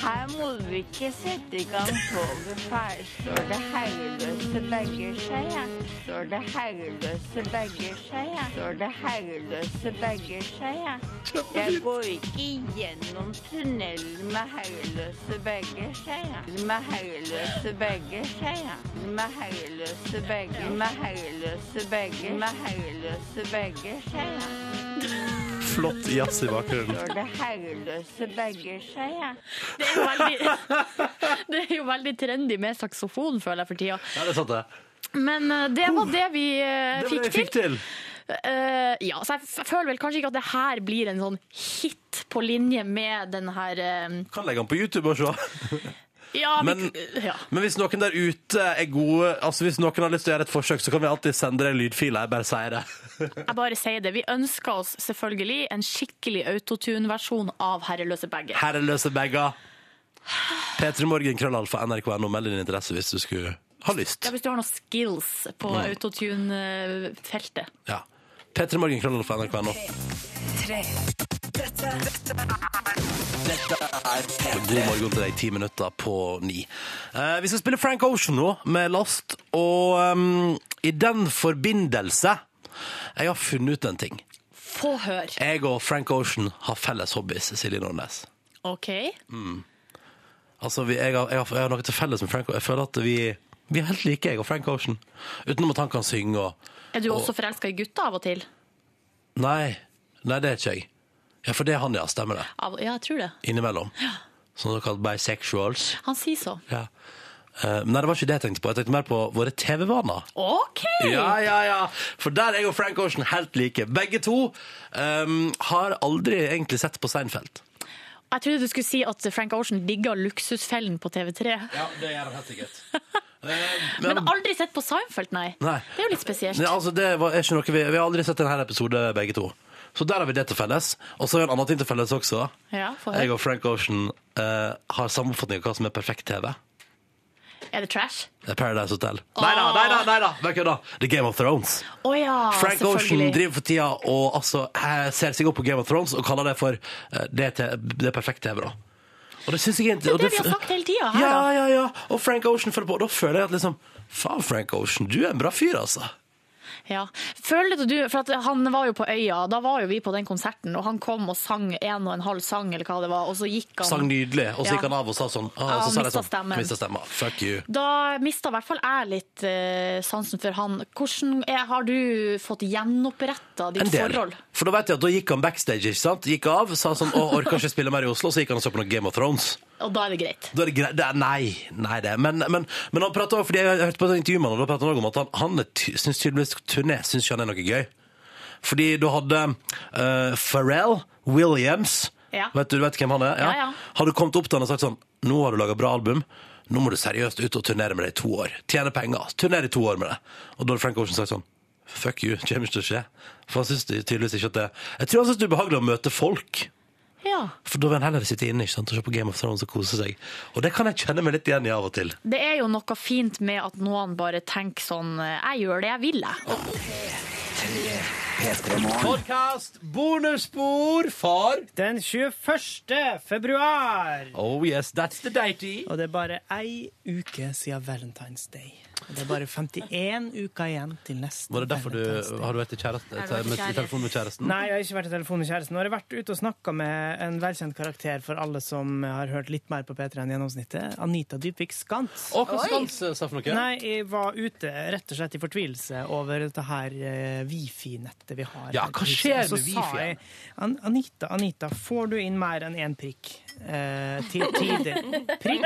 O: Her må vi ikke sette i gang toget, for her står det herreløse bager, sa jeg. Står det herreløse bager, sa jeg. Står det herreløse bager, sa jeg. Jeg går ikke gjennom tunnelen med herreløse bager, sa jeg. Med herreløse bager, sa jeg. Med herreløse bager, med herreløse bager, med herreløse bager, sa jeg.
B: Flott jazz i bakgrunnen.
O: Står det herreløse bager, sa jeg.
F: Det er, jo veldig, det er jo veldig trendy med saksofon, føler jeg, for tida.
B: Ja, det er sant, det.
F: Men eh, det var det vi eh,
B: Oh, Det
F: fikk,
B: var det jeg fikk til.
F: Eh, ja, så jeg, f- jeg føler vel kanskje ikke at det her blir en sånn hit på linje med den her eh,
B: Kan legge den på YouTube og se.
F: ja, vi,
B: Men,
F: ja.
B: men hvis noen der ute er gode Altså Hvis noen har lyst til å gjøre et forsøk, så kan vi alltid sende deg lydfiler. Jeg bare sier det.
F: Jeg bare sier det. Vi ønsker oss selvfølgelig en skikkelig autotune-versjon av Herreløse bager.
B: Herreløse bager. P3 Morgen, krøllalfa, nrk.no. Meld din interesse hvis du skulle ha lyst.
F: Ja, hvis du har noen skills på
B: Mm.
F: autotune-feltet.
B: Ja. P3 Morgen, krøllalfa, nrk.no.
A: Tre. Dette, dette
B: God morgen til deg, ti minutter på ni. Eh, vi skal spille Frank Ocean nå, med Lost, og ehm, i den forbindelse Jeg har funnet ut en ting.
F: Få hør.
B: Jeg og Frank Ocean har felles hobbies, Silje Nordnes.
F: OK?
B: Mm. Altså, vi, jeg, har, jeg, har, jeg har noe til felles med Frank Ocean. Jeg føler at vi, vi er helt like, jeg og Frank Ocean. Utenom at han kan synge og
F: Er du
B: Og-
F: også forelska i gutta av og til?
B: Nei, nei, det er ikke jeg. Ja, for det er han, ja. Stemmer det.
F: Av, ja, jeg tror det.
B: Innimellom. Sånn kalt bisexuals.
F: Han sier så.
B: Ja. Eh, nei, det var ikke det jeg tenkte på. Jeg tenkte mer på våre TV-vaner.
F: OK!
B: Ja, ja, ja. For der er jeg og Frank Ocean helt like. Begge to ehm, har aldri egentlig sett på Seinfeld.
F: Jeg trodde du skulle si at Frank Ocean digga Luksusfellen på TV3.
B: Ja, det gjør han helt sikkert. Eh,
F: Men, aldri sett på Seinfeld, nei.
B: Nei.
F: Det er jo litt spesielt.
B: Nei, altså, det var, er ikke noe vi, vi har aldri sett en hel episode, begge to. Så der har vi det til felles. Og så er det en annen ting til felles også.
F: Ja, få
B: Jeg
F: høre.
B: og Frank Ocean eh, har samme oppfatning av hva som er perfekt TV.
F: Er det trash?
B: Det er Paradise Hotel. Nei da, nei da! nei da, Vær kødda. Det er Game of Thrones.
F: Å ja,
B: Frank Ocean
F: selvfølgelig.
B: driver for tida og altså, eh, ser seg opp på Game of Thrones og kaller det for eh, det, til, det perfekte TV. da. Og det synes jeg
F: Det
B: egentlig- og
F: er det vi har sagt hele tida her,
B: ja,
F: da.
B: ja, ja. Og Frank Ocean følger på. Og da føler jeg at liksom Faen, Frank Ocean, du er en bra fyr, altså.
F: Ja. Føler du, for at han var jo på øya, da var jo vi på den konserten, og han kom og sang en og en halv sang, eller hva det var, og så gikk han
B: Sang nydelig.
F: Sånn.
B: Og så
F: Ja.
B: gikk han av og sa sånn. Ah,
F: Ja,
B: og så sa
F: han
B: jeg
F: mistet
B: sånn,
F: stemmen.
B: Mista stemmen. Fuck you.
F: Da mista i hvert fall jeg litt eh, sansen for han. Hvordan er, har du fått gjenoppretta ditt
B: En del.
F: forhold?
B: For da vet jeg at da gikk han backstage, ikke sant? Gikk av, sa sånn Å, orker ikke spille mer i Oslo. Så gikk han og så på noe Game of Thrones.
F: Og da er det greit.
B: Da er det greit. Det er, nei, nei det. er- Men, men, men han pratet, også- fordi jeg hørte på et intervju med han, og da pratet han også om at han, han er ty- synes tydeligvis turné synes ikke han er noe gøy. Fordi du hadde eh, Pharrell Williams,
K: Ja.
B: vet du, du vet hvem han er?
K: Ja, ja.
B: Hadde kommet opp til han og sagt sånn, nå har du laget bra album, nå må du seriøst ut og turnere med det i to år. Tjene penger, turnere i to år med det. Og da hadde Frank Ocean sagt sånn, fuck you, det kommer ikke til å skje. For han synes tydeligvis ikke at det... Jeg tror han synes det er ubehagelig å møte folk.
F: Ja.
B: For da vil han heller sitte inne ikke sant? og se på Game of Thrones og kose seg. Og det kan jeg kjenne meg litt igjen i av og til.
F: Det er jo noe fint med at noen bare tenker sånn eh, Jeg gjør det jeg vil, jeg.
B: Podcast bonusspor for
E: Den 21. februar.
B: Oh yes, that's the deity.
E: Og det er bare ei uke siden Valentine's Day. Og det er bare 51 uker igjen til neste
B: Var det derfor du har du vært i kjæreste,
E: Jeg har vært i
B: med- i
E: kjæreste.
B: telefon med kjæresten?
E: Nei, jeg har ikke vært i telefon med kjæresten. Nå har jeg vært ute og snakka med en velkjent karakter for alle som har hørt litt mer på P3 enn gjennomsnittet. Anita Dybvik Skantz.
B: Å, hva Skantz sa for noe?
E: Nei, jeg var ute rett og slett i fortvilelse over dette her eh, wifi-nettet vi har.
B: Ja,
E: her
B: hva
E: på huset.
B: skjer
E: Og så
B: med
E: sa
B: wifi-en?
E: jeg, An Anita, Anita, får du inn mer enn én prikk eh, til tider? Prikk?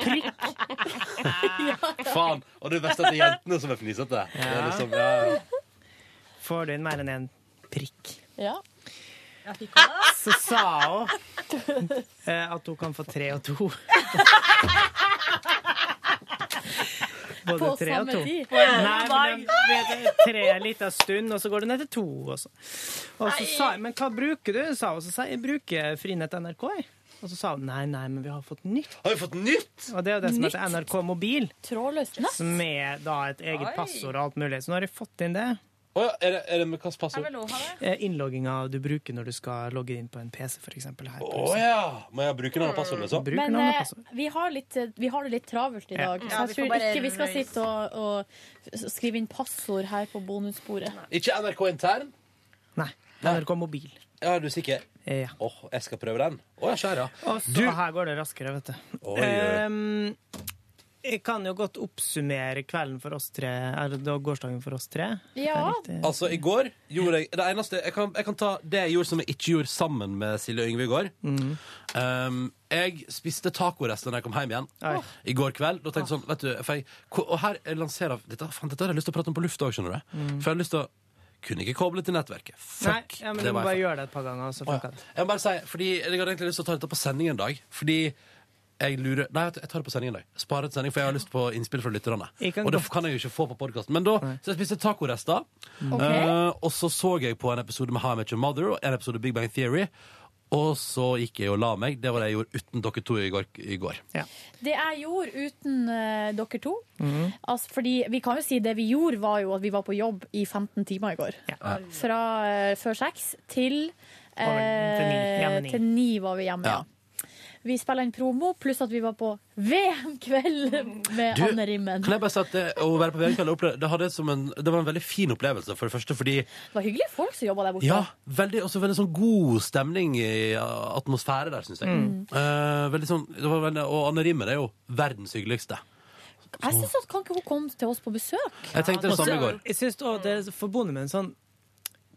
E: Prikk?
B: Faen! Og det beste er at det er jentene som er fnisete. Det er liksom, ja, ja.
E: Får du inn mer enn én prikk?
F: Ja.
E: Så sa hun eh, at hun kan få tre og to. Både
K: På
E: tre og
K: samme
E: to.
K: tid.
E: Nei, men den, det er tre en liten stund, og så går det ned til to. Og så. Og så sa jeg, men hva bruker du? sa hun. Så sa jeg, jeg bruker Frinett NRK. jeg». Og så sa hun nei, nei, men vi har fått nytt.
B: Har vi fått nytt?
E: Og det er jo det som heter
K: Nytt?
E: NRK Mobil.
F: Trådløst
E: Som er da et eget
K: Oi.
E: passord og alt mulig. Så nå har jeg fått inn det.
B: Å ja, er det, er det med hvilket passord?
E: Eh, Innlogginga du bruker når du skal logge inn på en PC, f.eks. her. på
B: Å
E: huset.
B: ja! Må jeg bruke noen passord, liksom?
E: Bruk
C: Men
E: navn og
C: eh,
E: passord.
C: vi, har litt, vi har det litt travelt i
E: Ja.
C: dag, så
E: Ja, vi
C: jeg
E: får
C: tror
E: bare
C: ikke vi skal
E: røys.
C: sitte og, og skrive inn passord her på bonussporet.
B: Ikke NRK intern?
E: Nei. NRK mobil.
B: Ja, er du sikker?
E: Ja.
B: Åh, jeg skal prøve den. Å ja, skjær, ja.
E: Og så her går det raskere, vet du.
B: Oi, oi.
E: Ehm, jeg kan jo godt oppsummere kvelden for oss tre, eller da gårsdagen for oss tre. Eh,
B: Altså, i går gjorde jeg Det eneste Jeg kan, jeg kan ta det jeg gjorde som jeg ikke gjorde sammen med Silje og Yngve i går.
E: Mm.
B: Um, jeg spiste tacorester da jeg kom hjem igjen
E: Oi.
B: i går kveld. Da tenkte jeg sånn, vet du, for jeg, Og her jeg lanserer dette, faen, dette har jeg lyst til å prate om på lufta òg, skjønner du.
E: Mm.
B: For jeg har lyst til å Kunne ikke koble til nettverket.
E: Nei,
B: Fuck.
E: ja, men
B: det
E: du må
B: var
E: bare
B: jeg
E: gjøre det et par ganger. Så
B: Å, ja.
E: funker det.
B: Jeg må bare si, fordi jeg hadde egentlig lyst til å ta dette på sending en dag. Fordi jeg lurer Nei, jeg tar det på sending en dag. Sparer til sending, for jeg har lyst på innspill fra lytterne.
E: Jeg kan
B: Og det
E: godt-
B: kan jeg jo ikke få på podkasten. Men da så jeg spiste tacorester.
E: Mm. Ok.
B: Eh, og så så jeg på en episode med How I Met Your Mother og en episode Big Bang Theory. Og så gikk jeg og la meg. Det var det jeg gjorde uten dere to i går. I går.
C: Det jeg gjorde uten eh, dere to
B: Mhm.
C: altså, fordi Vi kan jo si det vi gjorde, var jo at vi var på jobb i 15 timer i går.
B: Ja.
C: Fra eh, før seks til eh,
B: Over- til ni, hjemme ni.
C: til ni var vi hjemme.
B: Ja.
C: Ja. Vi spilla inn promo, pluss at vi var på VM-kveld med
B: Du,
C: Anne Rimmen.
B: Kan jeg bare si at det, å være på VM-kveld opple- det, hadde jeg som en- det var en veldig fin opplevelse, for det første fordi
C: Det var hyggelige folk som jobba der borte.
B: Ja, veldig, også veldig sånn god stemning i uh, atmosfære der, syns jeg.
C: Mm.
B: Eh, veldig sånn, det var veldig, og Anne Rimmer er jo verdens hyggeligste.
C: Jeg synes at Kan ikke hun komme til oss på besøk?
B: Jeg tenkte det samme i går.
E: Jeg synes også det forbinder med en sånn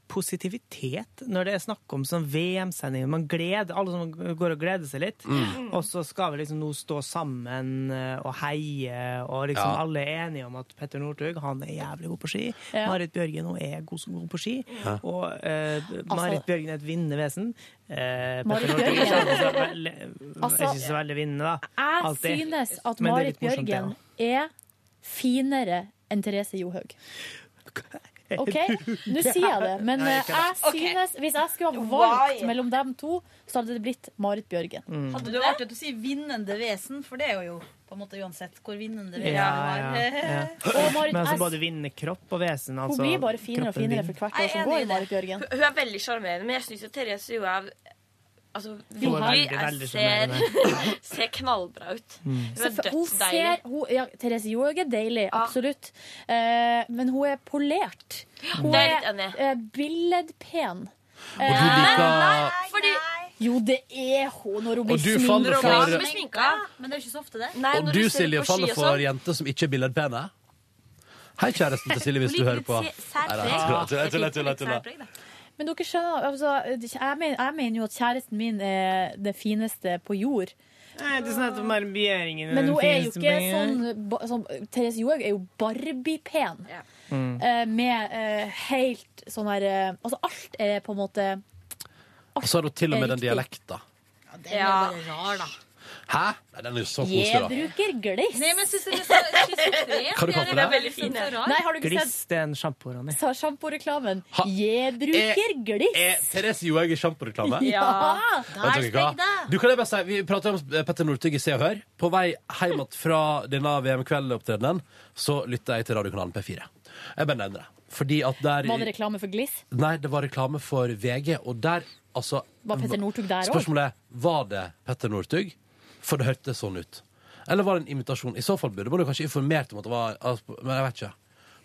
E: positivitet når det er snakk om sånn VM-sendinger. Man gleder, Alle som går og gleder seg litt.
B: Mm.
E: Og så skal vi liksom nå stå sammen eh, og heie, og liksom
B: Ja.
E: alle er enige om at Petter Northug han er jævlig god på ski.
B: Ja.
E: Marit Bjørgen hun er god, god på ski.
B: Ja.
E: Og eh, Marit Bjørgen er et vinnende vesen. Eh,
F: Altså- Marit
E: Petter Northug er ikke
F: Bjørgen.
E: så veldig-
F: Altså,
E: er ikke så veldig vinnende, da.
F: Jeg
E: Alltid.
F: synes at
E: Men det er
F: Marit
E: litt morsomt, det
F: Bjørgen er finere enn Therese Johaug. OK, nå sier jeg det, men
P: Nei,
F: eh,
P: ikke
F: jeg synes, hvis jeg skulle ha valgt mellom dem to, så hadde det blitt Marit Bjørgen.
E: Mm,
D: Hadde du vært at du sier vinnende vesen, for det er jo på en måte uansett hvor vinnende vesen
E: Ja, ja,
D: du
E: ja.
D: var.
F: Marit
E: Men altså
F: S.
E: både vinne kropp og vesen. Altså,
F: blir bare finere og
E: kroppen
F: finere
E: vinner.
F: for hvert
M: Jeg
F: år
M: er
F: som
M: enig i
F: går.
M: det.
F: Marit Bjørgen.
M: Hun hun er veldig sjarmerende, men jeg syns jo Therese Johaug altså,
F: Hun er
M: virkelig
F: veldig, veldig
M: ser, ser knallbra
D: Mm.
M: ut. Hun er
F: Selvfø- Hun
M: dødsdeilig.
F: ser, hun, ja, Therese Johaug er deilig, absolutt. Eh, men hun er polert. Hun
M: det er
F: er
M: litt enig.
F: eh, billedpen.
B: Og du liker
M: Fordi
F: Jo, det er hun når hun
B: Og
F: blir
B: du faller
F: sminka.
B: for-
M: Hun er sminka,
D: men det er jo ikke så ofte det.
B: Og sånn. du, Silje, faller
D: sånn,
B: for jenter som ikke er billedpene. Hei, kjæresten til Silje, hvis du hører på.
F: Litt særpreg.
B: Nei, nei, tulla, tulla, tulla, tulla.
F: Men dere skjønner, altså, jeg, mener, jeg mener jo at kjæresten min er det fineste på jord.
E: Nei, det er sånn at de bare begjæringene
F: Men hun
E: den
F: er jo
E: fineste
F: ikke sånn,
E: begjæringen.
F: ba- sånn Therese Johaug er jo Barbie-pen.
E: Mm.
F: Eh, Med eh, helt sånn her eh, Altså, alt er på en måte
B: Og så har hun til og med den dialekta.
D: Den er bare rar, da.
B: Hæ? Nei, den er jo så
F: Jeg
B: koselig, da.
F: bruker gliss.
D: Nei, men synes jeg det er så schizofren.
B: Hva du kalte det?
D: veldig fin. Det er så rar.
F: Nei, har du ikke
E: Gliss, det er en sjampo, Ronny.
F: sett sjamporeklamen? Jeg bruker
E: Eh,
F: gliss.
B: Er Therese Johaug i sjamporeklame?
F: Ja.
B: Vet dere hva? Du kan jeg bare si, Vi prater om eh, Petter Northug i Se og Hør. På vei hjem att fra denne VM-kveldopptredenen så lytta jeg til radiokanalen P4. Jeg bare nevner det. Fordi at der
F: Var det reklame for gliss?
B: Nei, det var reklame for VG, og der altså
F: Var Petter Northug der også?
B: Spørsmålet er var det Petter Northug, for det hørtes sånn ut. Eller var det en invitasjon? I så fall burde man jo kanskje informert om at det var altså, Men jeg vet ikke.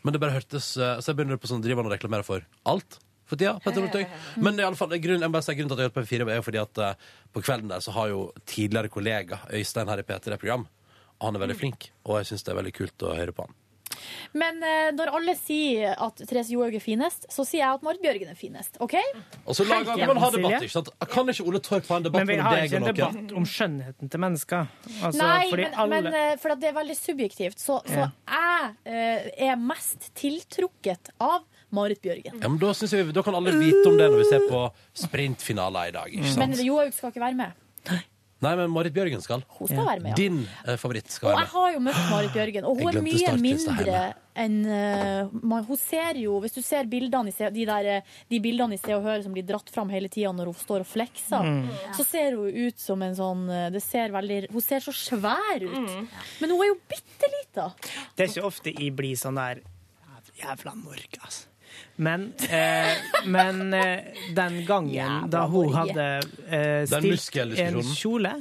B: Men det bare hørtes eh, Så jeg begynner på sånn driver han og reklamerer for alt for tida. Petter Northug.
F: Mm.
B: Men i alle fall, grunnen, jeg må bare si, grunnen til at jeg hørte på P4, er jo fordi at eh, på kvelden der så har jo tidligere kollega Øystein her i P3 program. Og han er
F: Mm.
B: veldig flink, og jeg syns det er veldig kult å høre på han.
F: Men eh, når alle sier at Therese Johaug er finest, så sier jeg at Marit Bjørgen er finest. OK?
B: Og så lager, kan man ha debatt, ikke sant? Kan ikke Ole Torp ha en debatt
E: Men vi
B: mellom
E: har ikke
B: deg
E: en
B: og noen?
E: debatt om skjønnheten til mennesker. Altså,
F: Nei,
E: fordi
F: men,
E: alle...
F: men eh, for at det er veldig subjektivt. Så, så jeg eh, er mest tiltrukket av Marit Bjørgen.
B: Ja, men da, synes jeg, vi- da kan alle vite om det når vi ser på sprintfinaler i dag. Ikke
F: Men
B: sant?
F: Johaug skal ikke være med.
B: Nei, men Marit Bjørgen skal.
F: Hun skal være med, ja.
B: Din eh, favoritt skal
F: Og
B: være
F: jeg
B: med.
F: har jo møtt Marit Bjørgen, og hun
B: Jeg
F: er
B: glemte
F: mye
B: startkrysset
F: mindre
B: hjemme.
F: enn eh, man, Hun ser jo Hvis du ser bildene i Se, de, der, eh, de bildene i Se og Hør som blir dratt fram hele tida når hun står og flekser,
E: Mm.
F: så ser hun ut som en sånn eh, det ser veldig, Hun ser så svær ut. Men hun er jo bitte lita.
E: Det er ikke ofte jeg blir sånn der Jævla Norge, altså. Men, eh, men eh, den gangen da hun
B: Norge.
E: hadde eh,
B: Den
E: stilt en
B: muskeldiskusjonen.
E: kjole,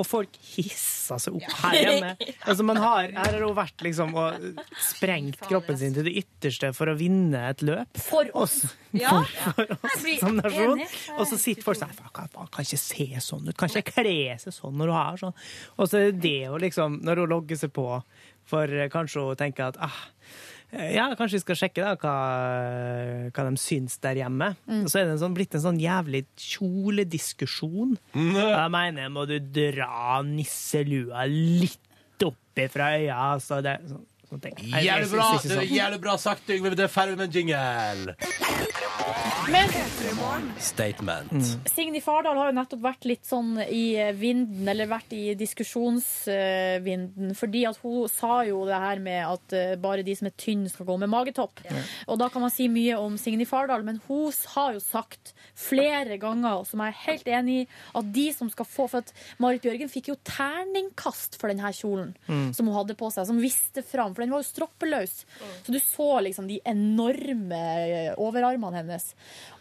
E: og folk hissa seg opp her hjemme altså, man har, Her har hun vært liksom og sprengt kroppen sin til det ytterste for å vinne et løp.
F: For
E: oss.
D: Ja.
E: For, for oss
D: blir
E: som nasjon.
D: enig.
E: Og så sitter folk sånn Faen, kan- faen, kan ikke se sånn ut. Kan ikke kle seg sånn når hun har sånn. Og så er det det hun liksom Når hun logger seg på, for eh, kanskje hun tenker at ah, eh, ja, kanskje vi skal sjekke da hva, hva de syns der hjemme.
Q: Mm.
E: Og så er det en sånn, blitt en sånn jævlig kjolediskusjon. Da mener jeg må du dra nisselua litt opp ifra øya, så det sånn, sånn ting. Jeg- jeg
B: Jævlig
E: synes
B: bra,
E: ikke
B: det er
E: sånn.
B: jævlig bra sagt, Yngve. Det er ferdig med en jingle.
F: Men
B: Statement.
E: Mm.
F: Signy Fardal har jo nettopp vært litt sånn i vinden, eller vært i diskusjonsvinden, fordi at hun sa jo det her med at eh, bare de som er tynne skal gå med magetopp. Og da kan man si mye om Signy Fardal, men hun har jo sagt flere ganger, som jeg er helt enig i, at de som skal få For at Marit Bjørgen fikk jo terningkast for denne kjolen
P: Mm.
F: som hun hadde på seg, som viste fram, for den var jo stroppeløs. Så du så liksom de enorme eh, overarmene hennes,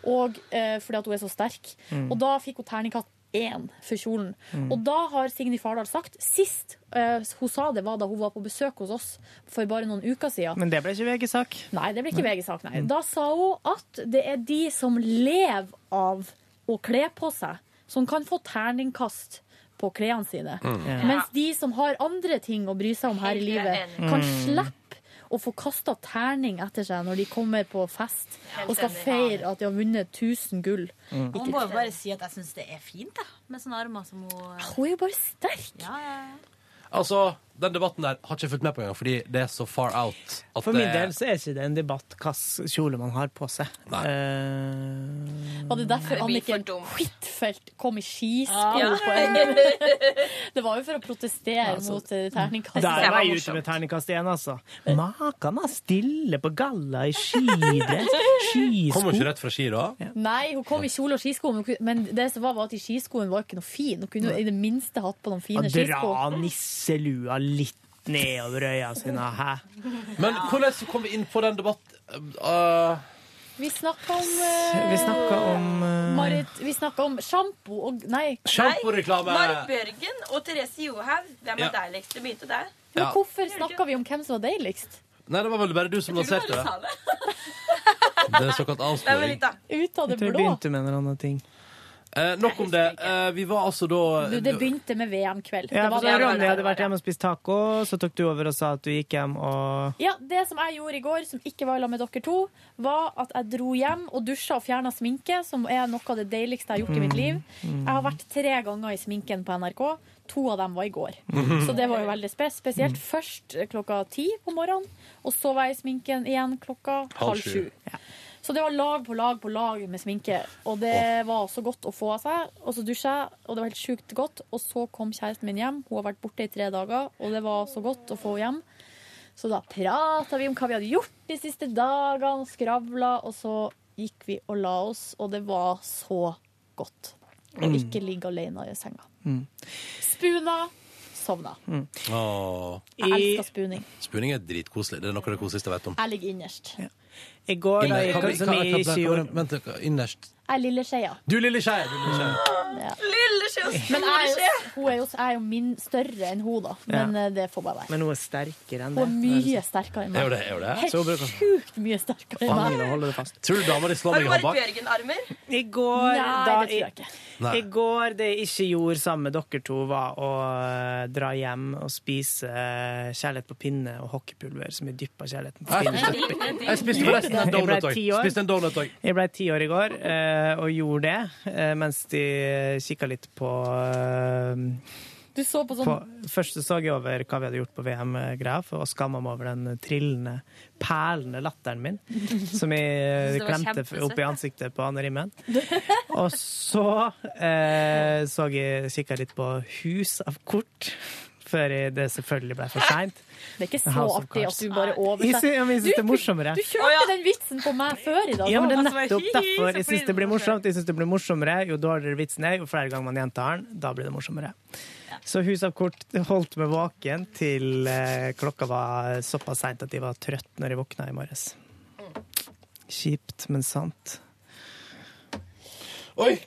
F: og eh, fordi at hun er så sterk.
P: Mm.
F: Og da fikk hun terningkast én for kjolen.
P: Mm.
F: Og da har Signy Fardal sagt, sist eh, hun sa det var da hun var på besøk hos oss for bare noen uker siden.
E: Men det ble ikke VG-sak.
F: Nei, det blir ikke
E: Nei.
F: VG-sak, nei.
P: Mm.
F: Da sa hun at det er de som lever av å kle på seg, som kan få terningkast på klærne sine.
P: Mm. Ja.
F: Mens de som har andre ting å bry seg om her i livet,
P: enig.
F: kan
P: Mm.
F: slippe å få kasta terning etter seg når de kommer på fest
D: Helt
F: og skal
D: enig.
F: feire at de har vunnet 1000 gull.
D: Mm.
F: Ikke-
D: Hun må jo bare si at jeg syns det er fint, da, med sånne armer som hun
F: Hun er jo bare sterk.
D: Ja, ja, ja.
B: Altså, den debatten der har ikke jeg fulgt med på engang, fordi det er så far out. At eh,
E: For min
B: det-
E: del så er ikke det en debatt hva slags kjole man har på seg. Eh,
F: Var det derfor
M: Det blir for
F: Anniken Huitfeldt kom i skisko?
M: Ja.
F: på en- Det var jo for å protestere
P: altså,
F: mot eh, terningkastet.
E: Der var jeg ute med terningkast igjen, altså. Makan er stille på galla i skidress, skisko
B: Kommer hun ikke rett fra ski, da?
F: Nei, hun kom i kjole og skisko, men hun kunne- men det som var, var at de skiskoene var ikke noe fin. Hun kunne jo i det minste hatt på noen fine
E: Og dra
F: skisko.
E: nisselua litt nedover øya sine, hæ?
B: Men hvordan kom vi inn på den debatten? Uh,
F: Vi snakka om eh,
E: Vi snakka om eh,
F: Marit, vi snakka om sjampo og Nei.
B: Sjamporeklame!
M: Marit Bjørgen og Therese Johaug. Hvem
B: Ja.
M: er deiligst? Det begynte der.
F: Men
B: Ja.
F: hvorfor snakka vi om hvem som var deiligst?
B: Nei, det var vel bare du som lanserte det. Det er såkalt avsporing.
F: Ut av det
E: Jeg tror jeg
F: blå.
E: begynte med en eller annen ting.
B: Eh, nok om det. Eh, vi var altså da
F: Du, det begynte med VM-kveld.
E: Ja,
F: Det var
E: for
F: det.
E: Ronny hadde vært hjemme og spist taco, så tok du over og sa at du gikk hjem og
F: Ja, Det som jeg gjorde i går, som ikke var i lag med dere to, var at jeg dro hjem og dusja og fjerna sminke, som er noe av det deiligste jeg har gjort i mitt liv. Jeg har vært tre ganger i sminken på NRK. To av dem var i går.
M: Mhm.
F: Så det var jo veldig spes spesielt. Først klokka ti på morgenen, og så var jeg i sminken igjen klokka halv
M: sju.
F: sju. Så det var lag på lag på lag med sminke, og det var så godt å få av seg. Og så dusja jeg, og det var helt sjukt godt. Og så kom kjæresten min hjem, hun har vært borte i tre dager, og det var så godt å få henne hjem. Så da prata vi om hva vi hadde gjort de siste dagene, skravla, og så gikk vi og la oss, og det var så godt å
E: Mm.
F: ikke ligge alene i senga.
E: Mm.
F: Spuna, sovna.
B: eh, Åh.
F: Jeg elsker spuning.
B: Spooning er dritkoselig. Det er noe av det koseligste jeg vet om.
F: Jeg ligger innerst. Jeg
E: I går da
B: Innerst-
E: gikk
B: Hva-
E: han som
B: hva-
E: i
B: hva- hva-
E: ikke gjorde
B: Vent, hva- innerst
F: er lille skeia.
B: Du, lille skje! Du, lille skje.
F: Ja.
M: Lille skje og
F: Men
M: store
F: jeg er
M: skje.
F: jo, hun er jo, jeg er jo min større enn hun, da. Men
E: Ja.
F: eh, det får bare være.
E: Men hun er sterkere enn
F: Hun
E: det.
F: er mye sterkere enn meg.
B: Er hun det? Er hun det? Så hun sånn.
F: Helt
B: bruker-
F: sjukt mye sterkere enn meg.
B: Tror du dama di slår
M: Har
B: deg
M: du
B: i
M: Marit
B: håndbak?
M: Bjørgen-armer?
E: I går,
M: Nei,
E: da,
M: det tror jeg ikke.
B: Nei.
E: I går det jeg ikke gjorde sammen med dere to, var å eh, dra hjem og spise eh, kjærlighet på pinne og hockeypulver, som jeg dyppa kjærligheten på pinne.
B: Jeg spiste- jeg spiste forresten en
E: Jeg ble
B: donut også.
E: ti år.
B: Spiste en donut også.
E: Jeg ble ti år i går eh, og gjorde det, eh, mens de kikka litt på eh,
F: Du så på sånn
E: på, først så, så jeg over hva vi hadde gjort på VM-greia, for- og skamma meg over den trillende, perlende latteren min, som jeg
N: Det var
E: klemte f- opp i ansiktet på Anne Rimmen. Og så eh, så jeg kikka litt på hus av kort, før jeg, det selvfølgelig ble for seint.
F: Det er ikke så artig at du bare oversetter.
E: Jeg syns det er morsommere.
F: Du kjørte den vitsen på meg før i dag. Altså,
E: Ja, men det er altså
F: også.
E: nettopp derfor jeg syns det blir morsomt. Jeg synes det blir morsommere Jo dårligere vitsen er, jo flere ganger man gjentar den, da blir det morsommere. Så Hus av kort holdt meg våken til eh, klokka var såpass seint at jeg var trøtt når jeg våkna i morges. Kjipt, men sant.
B: Oi!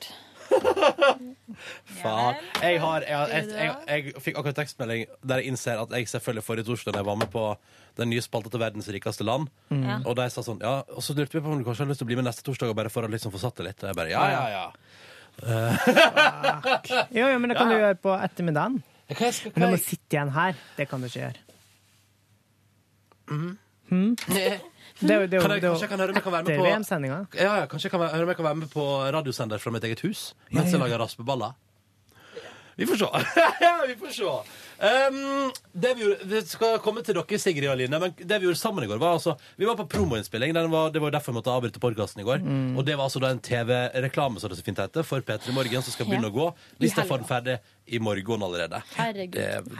B: Faen. Jeg, har, jeg, har, jeg, jeg, jeg fikk akkurat tekstmelding der jeg innser at jeg selvfølgelig forrige torsdag da jeg var med på den nye spalta til verdens rikeste land.
E: Mm. Ja.
B: Og de sa sånn, ja, og så lurte vi på om du kanskje har lyst til å bli med neste torsdag og bare for å liksom få satt det litt. Og jeg bare ja, ja, ja.
E: Jo, jo, men det kan
B: Ja,
E: du gjøre på ettermiddagen. Men om å
B: jeg-
E: sitte igjen her, det kan du ikke gjøre. Hmm? Det er jo- det er jo- E
B: Kan jeg-
E: det er jo
B: kanskje jeg kan høre om jeg kan være med
E: etter
B: på-
E: VM-sendinga.
B: Ja, ja, kanskje jeg kan være, høre om jeg kan være med på radiosender fra mitt eget hus mens jeg lager raspeballer. Vi får se. vi får se. Um, det vi, gjorde, vi skal komme til dere, Sigrid og Line, men det vi gjorde sammen i går, var altså Vi var på promoinnspilling. Den var, det var jo derfor vi måtte avbryte podkasten i går.
N: Mm.
B: Og det var altså da en TV-reklame som det så fint heter, for P3 Morgen, som skal begynne
E: Ja.
B: å gå.
E: I
B: Lista er
E: helga.
B: ferdig i morgen allerede.
F: Herregud.
E: Det er, jo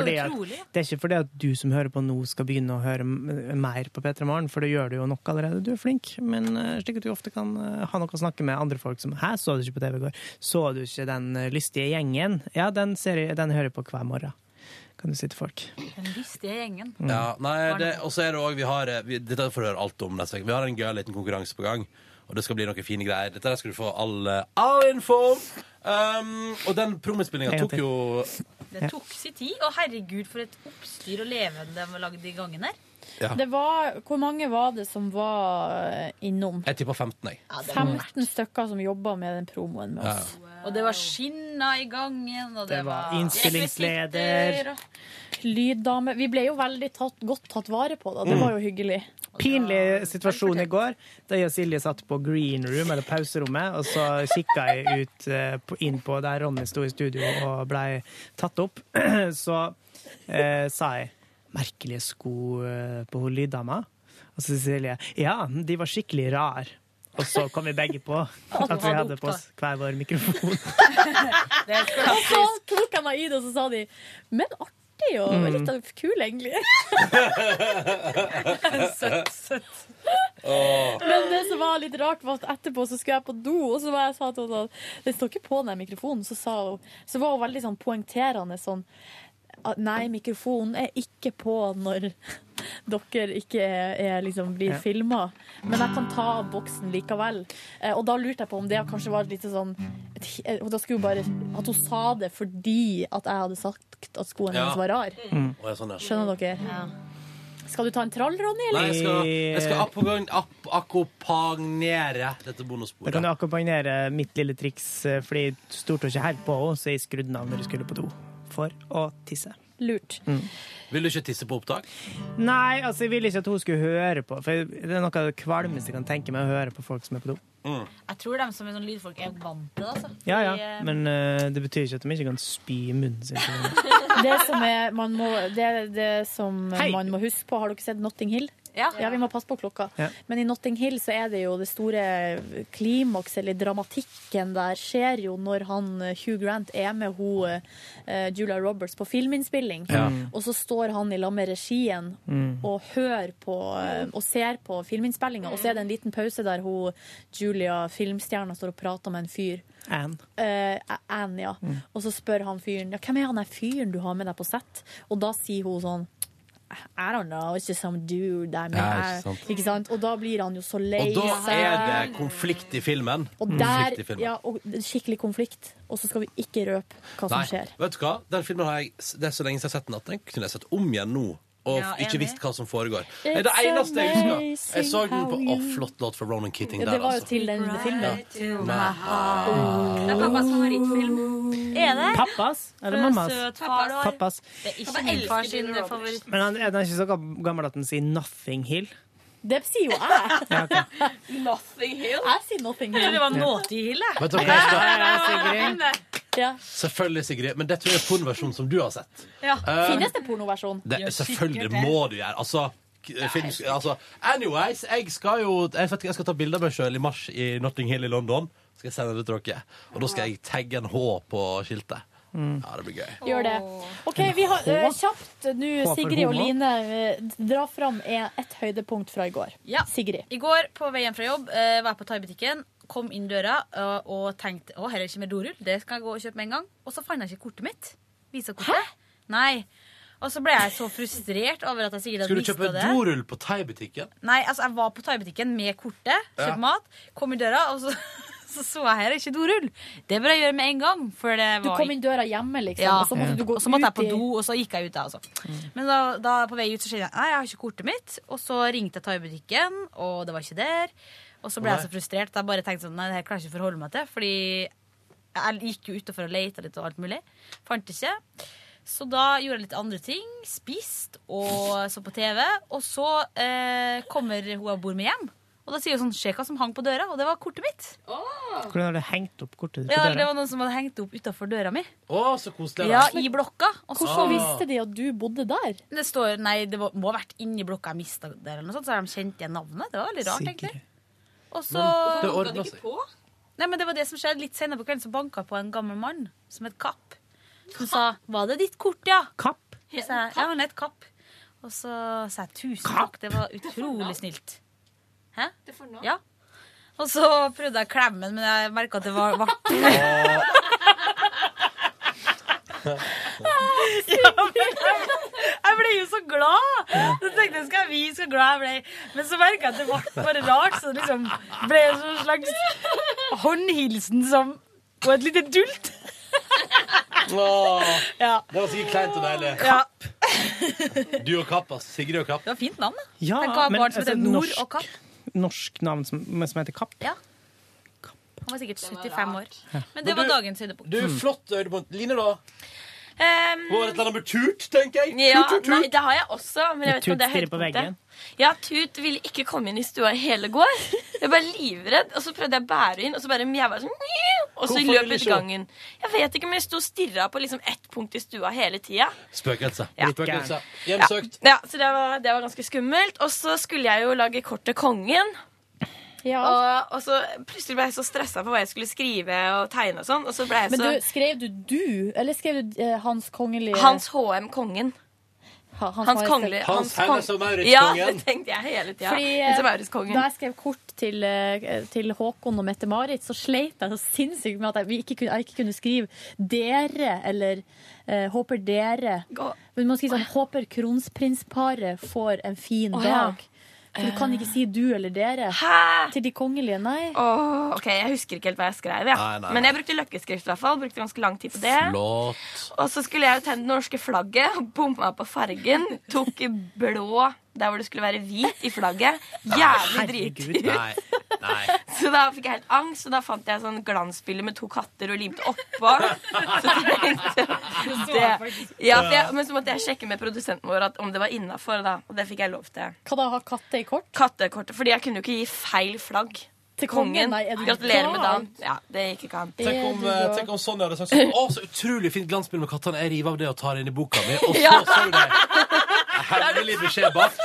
E: fordi at,
B: utrolig.
E: det er ikke fordi at du som hører på nå skal begynne å høre m- mer på P3 Morgen, for det gjør du jo nok allerede. Du er flink, men eh, slik at du ofte kan eh, ha noe å snakke med andre folk som Hæ, så du ikke på TV i går? Så du ikke den eh, lystige gjengen? Ja, den, ser jeg, den hører jeg på hver morgen. Kan du si til folk.
D: Den lystige gjengen.
E: Mm.
B: Ja, nei, det, og så er det også, vi har eh, vi, Dette får du høre alt om neste gang. Vi har en gøy liten konkurranse på gang. Og det skal bli noen fine greier. Dette der skal du få all, eh, all info om. Um, og den promispillinga
E: En gang
B: tok
E: til.
B: jo
M: Mm.
D: Det tok sin tid. Og herregud, for et oppstyr og levende de lagde i gangen her.
B: Ja.
F: Det var, hvor mange var det som var eh, innom?
B: Jeg tipper 15, jeg.
F: 15 stykker som jobba med den promoen med
B: Ja.
F: oss.
D: Og det var skinner i gangen, og det,
F: Det var
E: innspillingsleder.
D: rekvisitter, og-
F: Lyddame. Vi ble jo veldig tatt, godt tatt vare på, da. Det
E: Mm.
F: var jo hyggelig.
E: Pinlig situasjon i går. Da jeg og Silje satt på green room, eller pauserommet, og så kikka jeg ut eh, på, inn på der Ronny sto i studio og blei tatt opp. Så eh, sa jeg 'merkelige sko eh, på hun lyddama'. Og så sier Silje 'ja, de var skikkelig rar'. Og så kom vi begge på at vi hadde på oss hver vår mikrofon.
F: Og så tok han meg i det, og så sa de Men artig og
E: Mm.
F: litt av kul, egentlig.
D: Søtt, søtt.
F: Men det som var litt rart, var at etterpå så skulle jeg på do, og så var jeg sa til henne at det står ikke på den mikrofonen. Så, sa hun, så var hun veldig sånn poengterende sånn at Nei, mikrofonen er ikke på når dere ikke er, er, liksom blir
R: Ja.
F: filma. Men jeg kan ta av boksen likevel. Eh, og da lurte jeg på om det kanskje var litt sånn et, hi- eh, og da skulle hun bare, At hun sa det fordi at jeg hadde sagt at skoen
B: Ja.
F: hennes var rar.
B: Mm. Å, ja, sånn, ja.
F: Skjønner dere? Skal du ta en trall, Ronny?
B: Nei,
F: eller?
B: jeg skal, jeg skal appogagn- app- akkompagnere dette
E: Da kan
B: bonussporet.
E: du akkompagnere mitt lille triks, eh, fordi du stolte ikke helt på henne, så jeg skrudde den av når du skulle på do for å tisse.
F: Lurt.
B: Vil du ikke tisse på opptak?
E: Nei, altså jeg ville ikke at hun skulle høre på, for det er noe av det kvalmeste jeg kan tenke meg å høre på folk som er på do.
D: Jeg tror de som er sånn lydfolk, er vant til det, altså.
E: Ja,
D: Fordi,
E: ja,
D: eh,
E: men eh, det betyr ikke at de ikke kan spy i munnen sin.
F: Det som, er, man må, det, er det som man må huske på Har dere sett Notting Hill? Ja. vi må passe på klokka.
E: Ja.
F: Men i Notting Hill så er det jo det store klimaks, eller dramatikken der, skjer jo når han eh, Hugh Grant er med hun eh, Julia Roberts på filminnspilling.
R: Ja.
F: Og så står han i lag med regien
R: Mm.
F: og hører på eh, og ser på filminnspillinga, og så er det en liten pause der hun Julia, filmstjerna, står og prater med en fyr.
E: Ann.
F: Eh, Anne, ja.
E: Mm.
F: Og så spør han fyren ja, hvem er han der fyren du har med deg på sett. Og da sier hun sånn I don't know, it's just some dude I mean,
B: Ja, ikke
F: I-
B: sant.
F: ikke sant? Og da blir han jo så lei
B: Og da er
F: seg.
B: det Mm. konflikt i filmen.
F: Og der,
B: Konflikt i filmen.
F: ja, og skikkelig konflikt. Og så skal vi ikke røpe hva som
B: Nei,
F: skjer.
B: Vet du hva? Den filmen har jeg, det er så lenge siden jeg har sett den at den kunne jeg sett om igjen nå. Og
F: Ja,
B: ikke
F: enig.
B: visst hva som foregår. Det er
F: It's
B: det eneste jeg husker. Jeg
F: amazing
B: så den på
F: how
B: Å,
F: you-
B: flott låt fra Ronan Keating
F: Ja,
B: der,
F: det var jo
B: altså.
F: til den filmen.
M: Det er pappas favorittfilm. Er det?
E: Pappas? Eller mammas?
M: Søt far.
E: Pappas.
M: Det er ikke min far sin favoritt.
E: Men han, er den ikke så gam- gammel at den sier 'nothing hill'?
F: Det sier jo jeg.
E: Ja, ok.
F: Nothing Hill? Jeg sier Nothing Hill.
D: Eller det var
F: Naughty Hill,
B: Vet du hva jeg skal-
F: Ja.
B: Selvfølgelig, Sigrid. Men det tror jeg er pornoversjonen som du har sett.
F: Ja.
B: Eh,
F: Finnes det pornoversjon?
B: Det, selvfølgelig må du gjøre. Altså, k- film, altså Anyways, jeg skal jo jeg, vet, ikke, jeg skal ta bilder av meg sjøl i mars i Notting Hill i London. Skal jeg sende det til dere. Og da skal jeg tagge en H på skiltet.
F: Mm.
B: Ja, det blir gøy.
F: Gjør det. OK, vi har
B: En
F: eh,
B: H?
F: kjapt nå,
B: H for
F: Sigrid og
B: homo.
F: Line, eh, dra fram eh, et høydepunkt fra i går.
D: Ja.
F: Sigrid.
D: I går på vei hjem fra jobb eh, var jeg på thaibutikken, kom inn døra eh, og tenkte å, her er det ikke mer dorull, det skal jeg gå og kjøpe med en gang. Og så fant jeg ikke kortet mitt. Visakortet. Nei. Og så ble jeg så frustrert over at jeg sikkert hadde
B: Skulle du kjøpe
D: mistet det.
B: dorull på thaibutikken?
D: Nei, altså jeg var på thaibutikken med kortet, kjøpte
B: Ja.
D: mat, kom i døra, og så så, så jeg her er ikke dorull. Det bør jeg gjøre med en gang. For det
F: Du
D: var
F: kom inn døra hjemme, liksom,
D: ja.
F: og så måtte du gå
D: Og så måtte jeg
F: ut i-
D: på do, og så gikk jeg ut da. Altså. Men da, da på vei ut så skjedde jeg Nei, jeg har ikke kortet mitt. Og så ringte jeg thaibutikken, og det var ikke der. Og så ble jeg
M: Nei.
D: så frustrert. at Jeg bare tenkte sånn, nei, det her klarer jeg ikke å forholde meg til. Fordi jeg gikk jo utenfor og leita litt og alt mulig. Fant det ikke. Så da gjorde jeg litt andre ting. Spist og så på TV. Og så eh, kommer hun jeg bor med, hjem. Og da sier hun sånn Se hva som hang på døra. Og det var kortet mitt.
E: Hvordan har du hengt opp kortet ditt på
D: Ja, det
E: døra?
D: var noen som hadde hengt det opp utafor døra mi.
B: Å, så koselig.
D: Ja, i blokka. Og så-
B: Ah.
F: Hvordan visste de at du bodde der?
D: Det står, nei, det var, må ha vært inni blokka jeg mista der, eller noe sånt, så har de kjent igjen navnet. Det var veldig rart,
E: Sikkert.
D: egentlig. Og så
B: Men det ordnet seg.
D: Nei, men det var det som skjedde litt senere på kvelden, så banka på en gammel mann som het Kapp. Som sa 'Var det ditt kort, ja?'
E: Kapp?
D: Så sa jeg, ja, han het Kapp. Og så sa jeg 'Tusen takk, det var utrolig snilt'. Hæ? Ja. Og så prøvde jeg klemmen, men jeg merka at det var vart. Ja, men jeg- jeg ble jo så glad! Så tenkte jeg skal jeg vise hvor glad jeg ble. Men så merka jeg at det ble bare rart. Så det liksom ble en sånn slags håndhilsen som Og et lite dult.
B: Åh,
D: Ja.
B: Det var sikkert kleint og deilig.
D: Ja.
B: Du og Kapp, altså. Sigrid og Kapp.
D: Det var fint navn, da.
E: Ja,
D: Tenk å ha
E: men
D: barn som heter
E: altså,
D: Nord
E: norsk-
D: og Kapp.
E: Norsk navn som, men som heter Kapp.
D: Ja. Han var sikkert 75 år. Men det
B: Men
D: var Mm.
B: du-
D: dagens høydepunkt.
B: Du, flott høydepunkt. Line, da?
M: Ehm,
B: Var det et eller annet med tut, tenker jeg?
M: ja,
B: tut, tut,
M: nei,
B: tut.
M: det har jeg også, men jeg vet ikke om det er
B: Tut stirrer på
M: høydepunktet.
B: veggen.
M: Ja, Tut ville ikke komme inn i stua i hele går. Jeg var livredd, og så prøvde jeg å bære inn, og så bare mjaua sånn mjau, Og så
B: Hvorfor
M: løp
B: ville
M: ut
B: ikke hun?
M: gangen. Jeg vet ikke, men jeg sto og stirra på liksom ett punkt i stua hele tida.
B: Spøkelse.
M: Ja.
B: Spøkelse.
M: Ja.
B: Hjemsøkt.
M: Ja, så det var, det var ganske skummelt. Og så skulle jeg jo lage kort til kongen. Og, og så plutselig ble jeg så stressa på hva jeg skulle skrive og tegne og sånn. Og så ble jeg
F: Men
M: så
F: du, skrev du du, eller skrev du eh, Hans Kongelige
M: Hans HM Kongen.
F: Ha-
M: Hans,
F: Majestät.
M: Kongelige Kong- Ja, det tenkte jeg hele tida.
F: Fordi, eh,
M: Hennes og Maurits-kongen.
F: da jeg skrev kort til, eh, til Håkon og Mette-Marit, så sleit jeg så sinnssykt med at jeg vi ikke kunne, jeg ikke kunne skrive 'dere' eller eh, 'håper dere'. Men man skriver sånn 'håper kronprinsparet får en fin
M: Å, ja. Eh.
F: dag'. For du kan ikke si 'du' eller 'dere' til de kongelige, nei.
M: Åh, ok, Jeg husker ikke helt hva jeg skrev. Ja.
F: Nei, nei.
M: Men jeg brukte løkkeskrift. i hvert fall Brukte ganske lang tid på det Og så skulle jeg jo tenne det norske flagget. Bomma på fargen. Tok i blå der hvor det skulle være hvit i flagget. Jævlig dritur.
B: Nei. Nei.
M: Så da fikk jeg helt angst, og da fant jeg sånn glansbilde med to katter og limte oppå. Så tenkte jeg det. Ja, for jeg, men så måtte jeg sjekke med produsenten vår at om det var innafor, da. Og det fikk jeg lov til.
F: Hva da, ha katte i kort?
M: Kattekortet. Fordi jeg kunne jo ikke gi feil flagg.
F: Til kongen?
M: kongen.
F: Nei, er du
M: Gratulerer med
F: gal?
M: dagen. Ja, det gikk ikke an.
B: Tenk om, eh, tenk om Sonja hadde sagt sånn Å, så utrolig fint glansbilde med kattene. Jeg river av det og tar det inn i boka mi. Og så
M: Ja.
B: så du det. Hemmelig beskjed bak.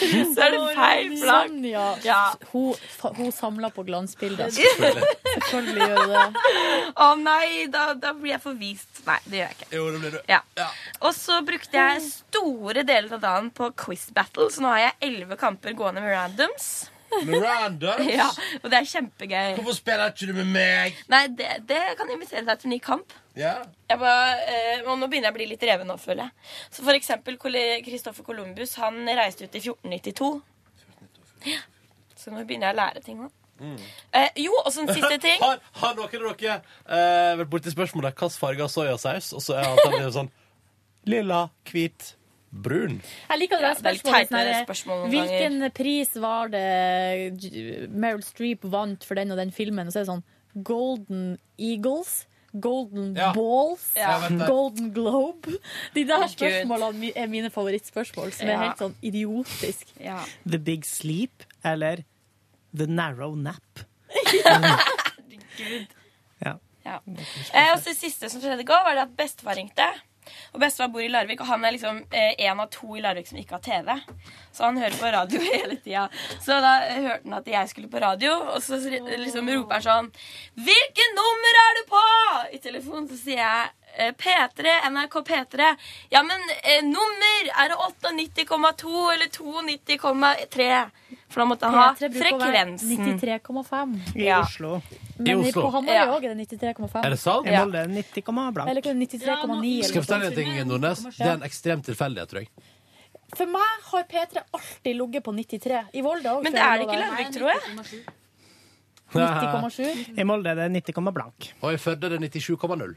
M: Så er det feil flagg.
F: Sonja, Sånn, hun, hun samla på glansbilder.
M: Selvfølgelig.
F: Selvfølgelig gjør hun det.
M: Å nei, da, da blir jeg forvist. Nei, det gjør jeg ikke.
B: Jo, det blir du.
M: Ja. Og så brukte jeg
F: Mm.
M: store deler av dagen på quiz battle, så nå har jeg elleve kamper gående med randoms.
B: Med randoms?
M: ja, og det er kjempegøy.
B: Hvorfor spiller ikke du med meg?
M: Nei, det, det kan invitere deg til ny kamp.
B: Ja.
M: Jeg var, eh, og nå begynner jeg å bli litt reven nå, føler jeg. Så for eksempel Col- Christopher Columbus, han reiste ut i 1492. Ja. Så nå begynner jeg å lære ting nå.
B: Mm.
M: Eh, jo, og så en siste ting.
B: Har, har noen av dere eh, vært borti spørsmålet hvilken farge har soyasaus? Og så er antallet sånn lilla, hvit, brun.
F: Jeg liker det
M: Ja,
F: der
M: det er litt
F: spørsmålet.
M: teit med det
F: sånn her,
M: spørsmålet noen
F: hvilken pris var det J- Meryl Streep vant for den og den filmen? Og så er det sånn Golden Eagles. Golden Balls.
M: Ja, jeg vet det.
F: Golden Globe. De der
M: Gud.
F: spørsmålene mi- er mine favorittspørsmål, som er
E: Ja.
F: helt sånn idiotisk.
E: The Big Sleep eller The Narrow Nap. Ja.
M: Ja. Eh, og så det siste som skjedde i går, var det at bestefar ringte. Og bestefar bor i Larvik, og han er liksom eh, en av to i Larvik som ikke har TV. Så han hører på radio hele tida. Så da eh, hørte han at jeg skulle på radio, og så ri- liksom roper han sånn 'Hvilket nummer er du på?' I telefonen så sier jeg eh, P3, NRK P3. Ja, men eh, nummer! Er det 98,2 eller 92,3? For da måtte han ha
F: P3 bruker å være
M: frekvensen.
F: 93,5.
M: Mm.
E: I Oslo.
F: Men i- på Hamarøy òg er det 93,5.
B: Er det sant?
E: Jeg holder 90, blank.
F: Eller ikke, 93,9. eller
B: Skal jeg
F: noe sånt.
B: fortelle en ting, Nordnes? Det er en ekstrem tilfeldighet, tror jeg.
F: For meg har P3 alltid ligget på 93. I Volda òg.
M: Men det er det ikke i Larvik, tror jeg.
B: 90,7?
E: I Molde er det 90, blank.
B: Og i Førde er det 97,0.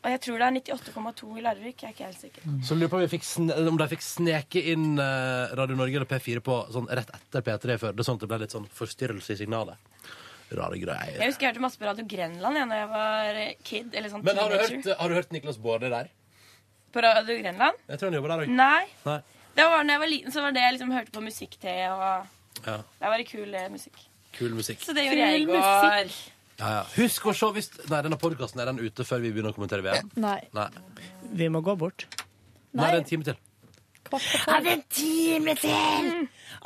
M: Og jeg tror det er 98,2 i Larvik. Jeg er ikke helt sikker.
B: Så lurer på om, vi fikk sn om de fikk sneke inn eh, Radio Norge eller P4 på sånn rett etter P3 før. Det, er sånn at det ble litt sånn forstyrrelse i signalet. Rare greier.
M: Jeg husker jeg hørte masse på Radio Grenland jeg, når jeg var eh, kid. Eller sånn
B: Men har du, hørt,
M: teenager.
B: har du hørt Niklas Baarde der?
M: På Radio Grenland?
B: Jeg tror han jobber der òg.
M: Nei. Det var når jeg var liten, så var det jeg liksom hørte på musikk-TV. Og
B: Ja.
M: der var det kul eh, musikk.
B: Kul musikk.
M: Så det gjorde jeg i
F: Kul
M: går.
B: Ja, ja. Husk å se hvis Nei, denne podkasten er den ute før vi begynner å kommentere VM.
F: Nei.
B: Nei.
E: Vi må gå bort.
B: Nå er det en time til.
E: Har vi en time til?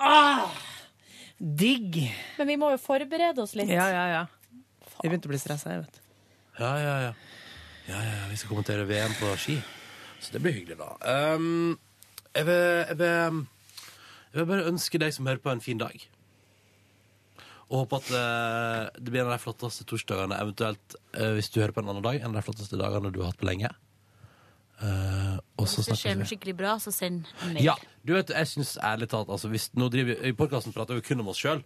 E: Åh,
D: Ah!
E: digg.
F: Men vi må jo forberede oss litt.
E: Ja, ja, ja. Jeg begynte å bli stressa, jeg, vet du.
B: Ja, ja, ja. ja, ja ja, vi skal kommentere VM på ski. Så det blir hyggelig, da. Um, jeg, vil, jeg, vil, jeg vil bare ønske deg som hører på, en fin dag. Og håpe at eh, det blir en av de flotteste torsdagene, eventuelt eh, hvis du hører på en annen dag, en av de flotteste dagene du har hatt på lenge. Eh, og så
D: Hvis det skjer
B: snakkes
D: noe
B: vi.
D: skikkelig bra, så send mail.
B: Ja, du vet, jeg synes ærlig talt altså, hvis, nå driver, vi- I podcasten prater vi kun om oss selv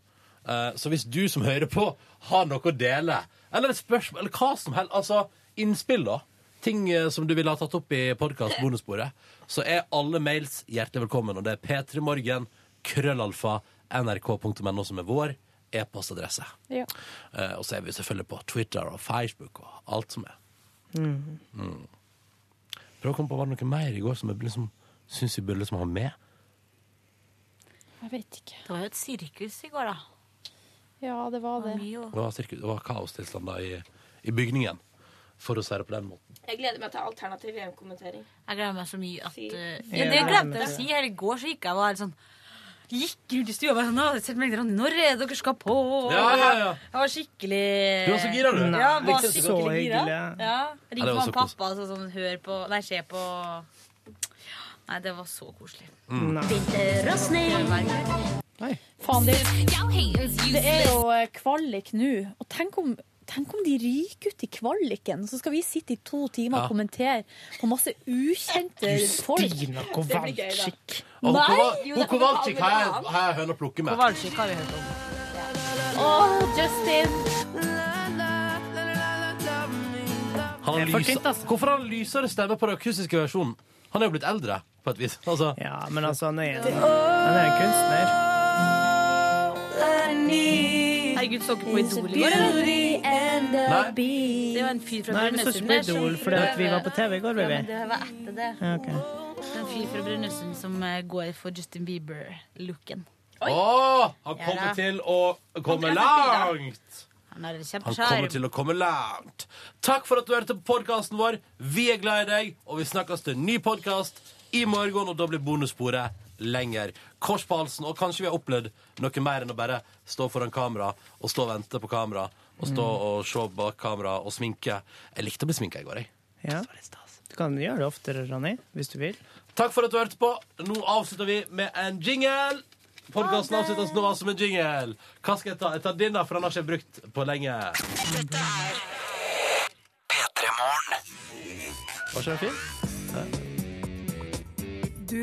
B: Eh, Så hvis du som hører på Har noe å dele Eller et spørsmål, eller hva som helst Altså, innspill da Ting eh, som du ville ha tatt opp i podcast bonusbordet så er alle mails hjertelig velkommen. Og det er p3morgen, krøllalfa, nrk.no, som er vår e-postadresse.
C: Ja.
B: Eh, og så er vi selvfølgelig på Twitter og Facebook og alt som er.
E: Mm.
B: Mm. Prøv å komme på var det noe mer i går som jeg liksom, syns vi burde liksom ha med.
C: Jeg vet ikke.
D: Det var jo et sirkus i går, da.
C: Ja, det var det.
B: Det var, sirkus, det var kaostilstander i, i bygningen, for å si det på den måten.
M: Jeg gleder meg til alternativ VM-kommentering.
D: Jeg gleder meg så mye at eh,
M: Ja,
D: ja, Det
M: jeg
D: glemte
M: gleder
D: jeg
M: meg.
D: å si. Her i går så gikk jeg og var helt sånn Gikk rundt i stua og var sånn «Å, jeg setter meg litt rann i, Når er det dere skal på?
B: Ja, ja, ja.
D: Jeg var skikkelig
B: Du var så gira, du.
D: Ja, jeg var
B: Likte det Eh, Liksom så godt.
D: skikkelig gira.
B: Så
D: Ja. Jeg
B: hyggelig. Ja, det
D: Ringte
B: var
D: ja,
B: så
D: pappa og sa sånn Hør på Nei, se på Nei, det var så koselig.
E: Mm.
D: Vinterrasning.
C: Faen, det, det er jo eh, kvalik nå. Og tenk om, tenk om de ryker ut i kvaliken, så skal vi sitte i to timer
B: Ja.
C: og kommentere på masse ukjente folk.
B: Justina
E: Kowalczyk.
B: Og
C: Nei!
B: Kova-
C: Jo,
B: og
C: det-
B: Kowalczyk har jeg- har jeg høne å plukke med.
D: Kowalczyk har vi hørt om.
C: Åh, Justin!
B: Han har
E: Det er for
B: lysa- Hvorfor har han lysere stemme på den akustiske versjonen? Han er jo blitt eldre, på et vis. Altså.
E: Ja, men altså, han er, han er en kunstner.
D: Herregud, så ikke på Idol i går, eller?
E: Nei.
D: Det var en fyr fra
E: Nei, vi så ikke på
D: Brønnøysund der som
E: Idol sånn fordi at vi var på TV i går,
D: Ja,
E: baby.
D: men det var etter det.
E: Ja, ok.
D: Det er En fyr fra Brønnøysund som eh, går for Justin Bieber-looken.
B: Åh, han kommer
D: Ja da.
B: til å komme
D: Han treffer
B: langt!
D: Han er
B: Han kommer
D: kjempeskjær.
B: til å komme langt. Takk for at du hørte på podkasten vår. Vi er glad i deg, og vi snakkes til en ny podkast i morgen. Og da blir bonussporet lenger. Kors på halsen. Og kanskje vi har opplevd noe mer enn å bare stå foran kamera og stå og vente på kamera. Og stå og se bak kamera og sminke. Jeg likte å bli sminka i går, jeg.
E: Ja. Du kan gjøre det oftere, Ronny, hvis du vil.
B: Takk for at du hørte på. Nå avslutter vi med en jingle. Podkasten avsluttes nå som en jingle. Hva skal jeg ta? Jeg tar din, da, for den har ikke jeg brukt på lenge. Var ikke den fin?
A: Du